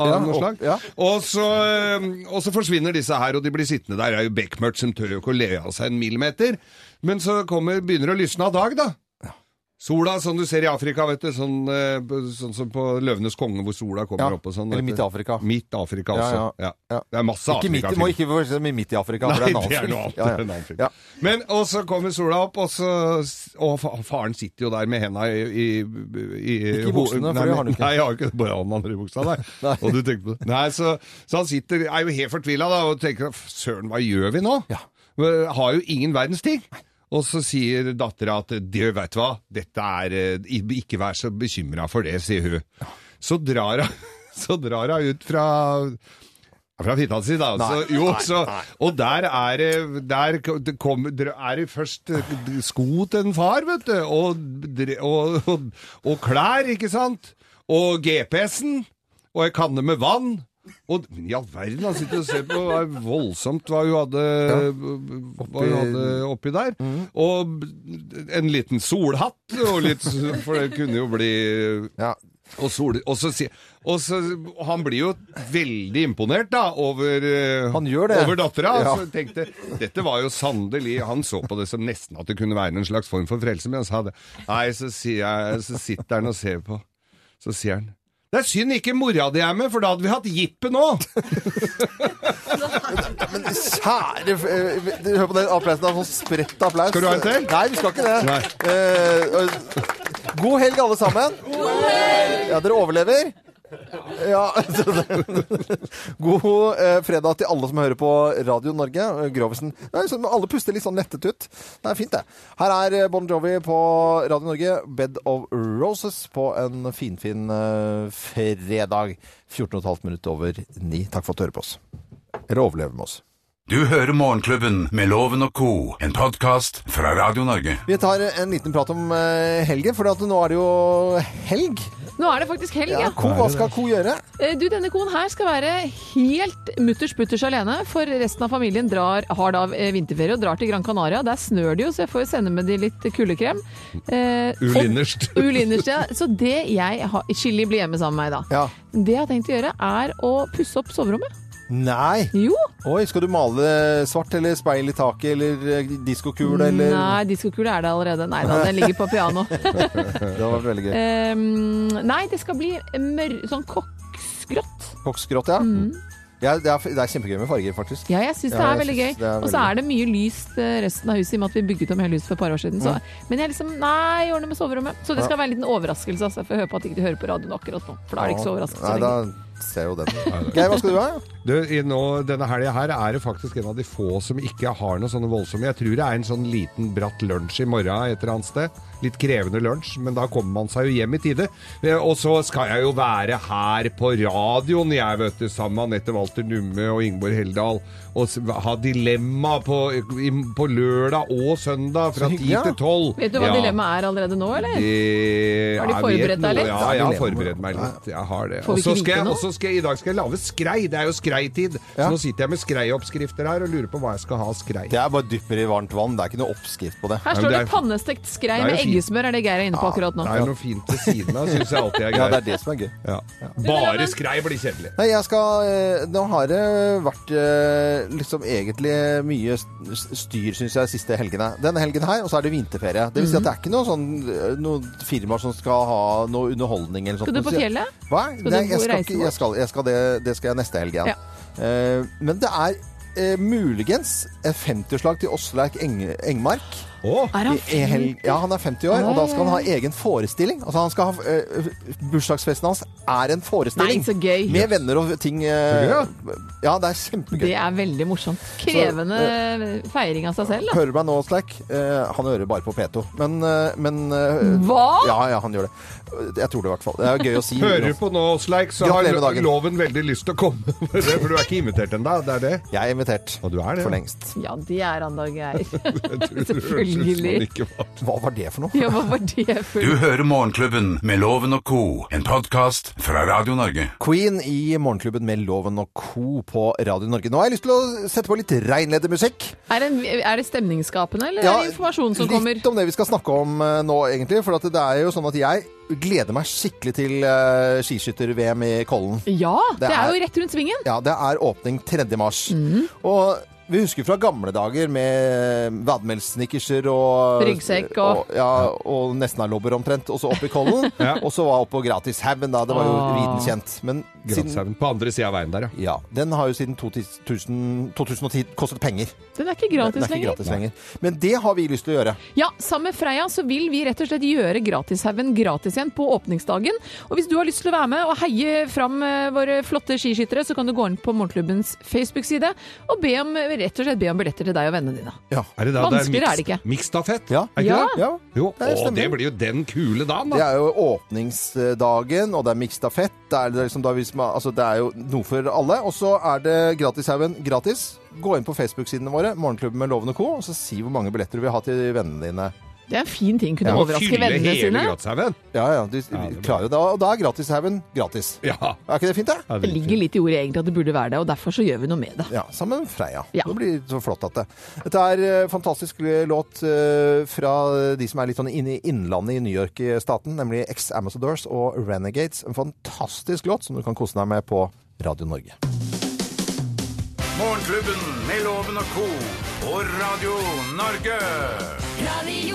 [SPEAKER 5] Av
[SPEAKER 2] Ja,
[SPEAKER 5] noe
[SPEAKER 2] opp,
[SPEAKER 5] slag.
[SPEAKER 2] ja.
[SPEAKER 5] Og, så, eh, og så forsvinner disse her, og de blir sittende der. Det er jo bekmørkt, som tør jo ikke å le av seg en millimeter. Men så kommer, begynner det å lysne av dag, da. Sola, som du ser i Afrika, vet du. Sånn, eh, på- sånn som på Løvenes konge, hvor sola kommer
[SPEAKER 2] Ja,
[SPEAKER 5] opp og sånn.
[SPEAKER 2] eller
[SPEAKER 5] vet
[SPEAKER 2] Midt
[SPEAKER 5] du.
[SPEAKER 2] i Afrika.
[SPEAKER 5] Midt Afrika
[SPEAKER 2] Ja,
[SPEAKER 5] også. Ja,
[SPEAKER 2] ja, ja.
[SPEAKER 5] Det er masse
[SPEAKER 2] Ikke midt,
[SPEAKER 5] Afrika.
[SPEAKER 2] må ikke forveksle med midt i Afrika,
[SPEAKER 5] (laughs) Nei,
[SPEAKER 2] for det er en annen film.
[SPEAKER 5] annet.
[SPEAKER 2] Ja,
[SPEAKER 5] Det er en
[SPEAKER 2] ja.
[SPEAKER 5] annen film. Men, og så kommer sola opp, og så Og fa- faren sitter jo der med henda i, i, i
[SPEAKER 2] Ikke i buksene, for
[SPEAKER 5] nei,
[SPEAKER 2] det har han ikke.
[SPEAKER 5] Nei, jeg har ikke bare han andre i buksa, nei.
[SPEAKER 2] (laughs) Nei.
[SPEAKER 5] Og du tenker på det. Nei, så, så han sitter, er jo helt fortvila da, og tenker "F- søren, hva gjør vi nå? Vi Har jo ingen verdens ting. Og så sier dattera at du vet du hva, dette er eh, Ikke vær så bekymra for det, sier hun. Så drar hun (laughs) så drar hun ut fra fra fitta si, da. Så,
[SPEAKER 4] Nei,
[SPEAKER 5] jo,
[SPEAKER 4] nei,
[SPEAKER 5] så, og der er det Der k- det kom, der er det først eh, d- sko til en far, vet du, og, dre- og, og, og klær, ikke sant? Og GPS-en, og ei kanne med vann. Og men i all verden, han sitter og ser på hva voldsomt hva hun hadde, hva hun hadde oppi der. Og b- en liten solhatt, og litt, s- for det kunne jo bli og, sol, og, så, si- og så Han blir jo veldig imponert da over, eh,
[SPEAKER 2] Han gjør det.
[SPEAKER 5] over dattera.
[SPEAKER 2] Ja.
[SPEAKER 5] Så tenkte Dette var jo sannelig Han så på det som nesten at det kunne være en slags form for frelse, men han sa det. Nei, så, sier jeg, så sitter han og ser på. Så sier han Det er synd ikke mora di er med, for da hadde vi hatt jippe nå!
[SPEAKER 2] Men kjære f- eh, du, Hør på den applausen. Det er sånn spredt applaus.
[SPEAKER 5] Skal du ha en til?
[SPEAKER 2] Nei, vi skal ikke det.
[SPEAKER 5] Nei.
[SPEAKER 2] Eh, eh, god helg, alle sammen. Ja, dere overlever. Ja (laughs) God eh, fredag til alle som hører på Radio Norge. Eh, Grovisen. Nei, så alle puster litt sånn lettet ut. Det er fint, det. Her er eh, Bon Jovi på Radio Norge. Bed of Roses på en finfin eh, fredag. 14,5 minutter over 9. Takk for at du hører på oss. Eller overlever med oss.
[SPEAKER 1] Du hører Morgenklubben med Loven og Co., en podkast fra Radio Norge.
[SPEAKER 2] Vi tar en liten prat om eh, helgen, for at nå er det jo helg.
[SPEAKER 3] Nå er det faktisk helg, ja.
[SPEAKER 2] Ja, ko, hva skal ko gjøre?
[SPEAKER 3] Eh, Du, denne koen her skal være helt mutters putters alene, for resten av familien drar, har da eh, vinterferie og drar til Gran Canaria. Der snør det jo, så jeg får jo sende med de litt kuldekrem. Eh, og-
[SPEAKER 5] Ull
[SPEAKER 3] (laughs)
[SPEAKER 5] innerst.
[SPEAKER 3] Ull innerst, ja. Så det jeg har Chili blir hjemme sammen med meg da. Det jeg har tenkt å gjøre, er å pusse opp soverommet.
[SPEAKER 2] Nei.
[SPEAKER 3] Jo,
[SPEAKER 2] Oi, skal du male svart eller speil i taket eller diskokule eller
[SPEAKER 3] Nei, diskokule er det allerede. Nei da, den ligger på piano.
[SPEAKER 2] Det var veldig gøy.
[SPEAKER 3] Ehm, nei, det skal bli mør sånn koksgrått.
[SPEAKER 2] Koksgrått, ja.
[SPEAKER 3] Mm.
[SPEAKER 2] ja det, er, det er kjempegøy med farger, faktisk.
[SPEAKER 3] Ja, jeg syns det
[SPEAKER 2] Ja,
[SPEAKER 3] er
[SPEAKER 2] jeg
[SPEAKER 3] veldig gøy.
[SPEAKER 2] synes det er
[SPEAKER 3] Og så
[SPEAKER 2] veldig
[SPEAKER 3] er det mye lyst eh, resten av huset, i og med at vi bygget om hele huset for et par år siden. Så. Men jeg liksom Nei, jeg ordner med soverommet. Så det skal
[SPEAKER 2] Ja.
[SPEAKER 3] være en liten overraskelse, altså. For jeg hører på at de ikke hører på radioen akkurat nå. For da er det ikke så overraskelse
[SPEAKER 2] Nei, da
[SPEAKER 3] lenger.
[SPEAKER 2] ser jeg jo
[SPEAKER 3] (laughs)
[SPEAKER 2] den. Geir, hva skal du ha?
[SPEAKER 5] Du, i nå, denne helga her er det faktisk en av de få som ikke har noe sånne voldsomme Jeg tror det er en sånn liten bratt lunsj i morgen et eller annet sted. Litt krevende lunsj, men da kommer man seg jo hjem i tide. Eh, Og så skal jeg jo være her på radioen, jeg, vet du, sammen med Anette Walter Numme og Ingeborg Heldal. Og s- ha dilemma på, i, på lørdag og søndag fra
[SPEAKER 3] Så
[SPEAKER 5] ti
[SPEAKER 3] hyggelig, ja.
[SPEAKER 5] til tolv.
[SPEAKER 3] Vet du hva dilemmaet er allerede nå, eller?
[SPEAKER 5] Det-
[SPEAKER 3] Har de
[SPEAKER 5] jeg
[SPEAKER 3] forberedt
[SPEAKER 5] vet
[SPEAKER 3] deg
[SPEAKER 5] noe.
[SPEAKER 3] litt?
[SPEAKER 5] Ja, jeg har forberedt meg litt. Jeg har det.
[SPEAKER 3] Får
[SPEAKER 5] Og
[SPEAKER 3] vi
[SPEAKER 5] så
[SPEAKER 3] ikke
[SPEAKER 5] skal
[SPEAKER 3] vite
[SPEAKER 5] jeg,
[SPEAKER 3] noe?
[SPEAKER 5] og så skal jeg, i dag skal jeg lage skrei. Det er jo skreitid. Så nå sitter jeg med skreioppskrifter her og lurer på hva jeg skal ha av skrei.
[SPEAKER 2] Det er bare dypper i varmt vann. Det er ikke noe oppskrift på det.
[SPEAKER 3] Her står det 'pannestekt skrei
[SPEAKER 5] det er jo
[SPEAKER 3] med
[SPEAKER 5] fint.
[SPEAKER 3] eggesmør', er det Geir er inne på akkurat nå.
[SPEAKER 5] Det er jo noe fint ved siden av, syns jeg alltid er gøy.
[SPEAKER 2] Ja, det er det som er gøy.
[SPEAKER 5] Ja. Bare skrei blir kjedelig.
[SPEAKER 2] Nei, jeg skal eh, Nå har det vært eh, liksom egentlig mye s- styr, syns jeg, siste helgene. Denne helgen her, og så er det vinterferie. Det vil si at det er ikke noe sånn eh, noe firmaer som skal ha noe underholdning eller sånt.
[SPEAKER 3] Skal du på fjellet?
[SPEAKER 2] Hva? Nei,
[SPEAKER 3] Skal du
[SPEAKER 2] jeg
[SPEAKER 3] bo-
[SPEAKER 2] skal
[SPEAKER 3] reise
[SPEAKER 2] ikke,
[SPEAKER 3] bort?
[SPEAKER 2] jeg skal, jeg skal det, det skal jeg neste helg igjen.
[SPEAKER 3] Ja.
[SPEAKER 2] Eh, men det er eh, muligens et 50-årslag til Åsleik Eng Engmark.
[SPEAKER 3] Er han
[SPEAKER 2] I- i helg-
[SPEAKER 3] 50?
[SPEAKER 2] Ja, han er 50 år, og da skal han
[SPEAKER 3] Oi.
[SPEAKER 2] ha egen forestilling. Altså, han skal ha, eh, bursdagsfesten hans er en forestilling.
[SPEAKER 3] Nei, så gøy.
[SPEAKER 2] Med venner og ting. eh,
[SPEAKER 3] Ja.
[SPEAKER 2] ja, det er kjempegøy.
[SPEAKER 3] Det er veldig morsomt.
[SPEAKER 2] eh,
[SPEAKER 3] Krevende feiring av seg selv, da.
[SPEAKER 2] Hører du meg nå, Slack? Eh, han hører bare på P2. Men, eh, men eh,
[SPEAKER 3] Hva?
[SPEAKER 2] Ja, ja, han gjør det. Jeg tror det i hvert fall. Det er gøy å si.
[SPEAKER 5] (laughs) Hører du på nå, Sleik, så har
[SPEAKER 2] Gratulerer med dagen.
[SPEAKER 5] loven veldig lyst til å komme. (laughs) For du er ikke invitert ennå, det er det?
[SPEAKER 2] Jeg er invitert.
[SPEAKER 5] Og du er det?
[SPEAKER 2] For
[SPEAKER 5] (laughs)
[SPEAKER 2] lengst.
[SPEAKER 3] Ja, det er han da, Geir.
[SPEAKER 1] Selvfølgelig.
[SPEAKER 2] Hva var det for noe?
[SPEAKER 3] (laughs) Ja, hva var det for
[SPEAKER 1] Du hører Morgenklubben med Loven og co., en podkast fra Radio Norge.
[SPEAKER 2] Queen i Morgenklubben med Loven og co. på Radio Norge. Nå har jeg lyst til å sette på litt reinledermusikk.
[SPEAKER 3] Er det, er det stemningsskapende, eller
[SPEAKER 2] Ja,
[SPEAKER 3] er det informasjon som
[SPEAKER 2] litt
[SPEAKER 3] kommer?
[SPEAKER 2] om det vi skal snakke om eh, nå, egentlig. For at det er jo sånn at jeg gleder meg skikkelig til eh, skiskytter-VM i Kollen.
[SPEAKER 3] Ja,
[SPEAKER 2] Det
[SPEAKER 3] det,
[SPEAKER 2] er-
[SPEAKER 3] er jo rett rundt svingen.
[SPEAKER 2] Ja, det er åpning 3. mars.
[SPEAKER 3] Mhm.
[SPEAKER 2] Og vi husker fra gamle dager med vadmelsnikkerser og
[SPEAKER 3] Ryggsekk og-
[SPEAKER 2] Ja, og nestenalobber omtrent. Og så opp i Kollen.
[SPEAKER 3] (laughs)
[SPEAKER 5] Ja.
[SPEAKER 2] Og så var opp på Gratishaugen, da. Det var jo
[SPEAKER 5] Ah.
[SPEAKER 2] viden kjent. Men siden,
[SPEAKER 5] Granshaugen på andre sida av veien der, ja.
[SPEAKER 2] ja, den har jo siden 2000, 2010 kostet penger.
[SPEAKER 3] Den er ikke
[SPEAKER 2] Den
[SPEAKER 3] gratis
[SPEAKER 2] er ikke
[SPEAKER 3] lenger.
[SPEAKER 2] gratis lenger. Men det har vi lyst til å gjøre.
[SPEAKER 3] Ja, sammen med Freia så vil vi rett og slett gjøre Gratishaugen gratis igjen på åpningsdagen. Og hvis du har lyst til å være med og heie fram eh, våre flotte skiskyttere, så kan du gå inn på Morgenklubbens Facebook-side og be om, rett og slett be om billetter til deg og vennene dine.
[SPEAKER 5] Er det da det er
[SPEAKER 3] Vanskeligere
[SPEAKER 5] miks-
[SPEAKER 3] er det ikke.
[SPEAKER 5] Miksstafett?
[SPEAKER 2] Ja.
[SPEAKER 5] Er ikke
[SPEAKER 3] Ja.
[SPEAKER 5] det?
[SPEAKER 2] Ja.
[SPEAKER 5] Jo,
[SPEAKER 2] Det
[SPEAKER 5] å,
[SPEAKER 2] stemmer.
[SPEAKER 5] det blir jo den kule dagen,
[SPEAKER 2] Det
[SPEAKER 5] da.
[SPEAKER 2] er jo åpningsdagen, og det er mikstafett. Det er, liksom da vi som er- altså det er jo noe for alle. Og så er det Gratishaugen gratis. Gå inn på Facebook-sidene våre, Morgenklubben med Loven og Co., og så si hvor mange billetter du vil ha til vennene dine.
[SPEAKER 3] Det er en fin ting. Kunne
[SPEAKER 2] Ja, og
[SPEAKER 3] overraske
[SPEAKER 5] Fylle
[SPEAKER 3] vennene
[SPEAKER 5] hele
[SPEAKER 3] sine.
[SPEAKER 5] Granshaugen.
[SPEAKER 2] Ja, ja, du klarer jo det. Og da er Gratishaugen gratis.
[SPEAKER 5] Ja.
[SPEAKER 2] Er ikke det fint, det?
[SPEAKER 3] Det ligger litt i ordet egentlig at det burde være det, og derfor så gjør vi noe med det.
[SPEAKER 2] Ja, sammen med Freia.
[SPEAKER 3] Ja.
[SPEAKER 2] Det blir så flott at det. Dette er eh, fantastisk låt eh, fra de som er litt sånn inne i innlandet i New York-staten, nemlig Ex-Ambassadors og Renegades. En fantastisk låt som du kan kose deg med på Radio Norge.
[SPEAKER 1] Morgenklubben med Loven og co. på Radio Norge.
[SPEAKER 9] Radio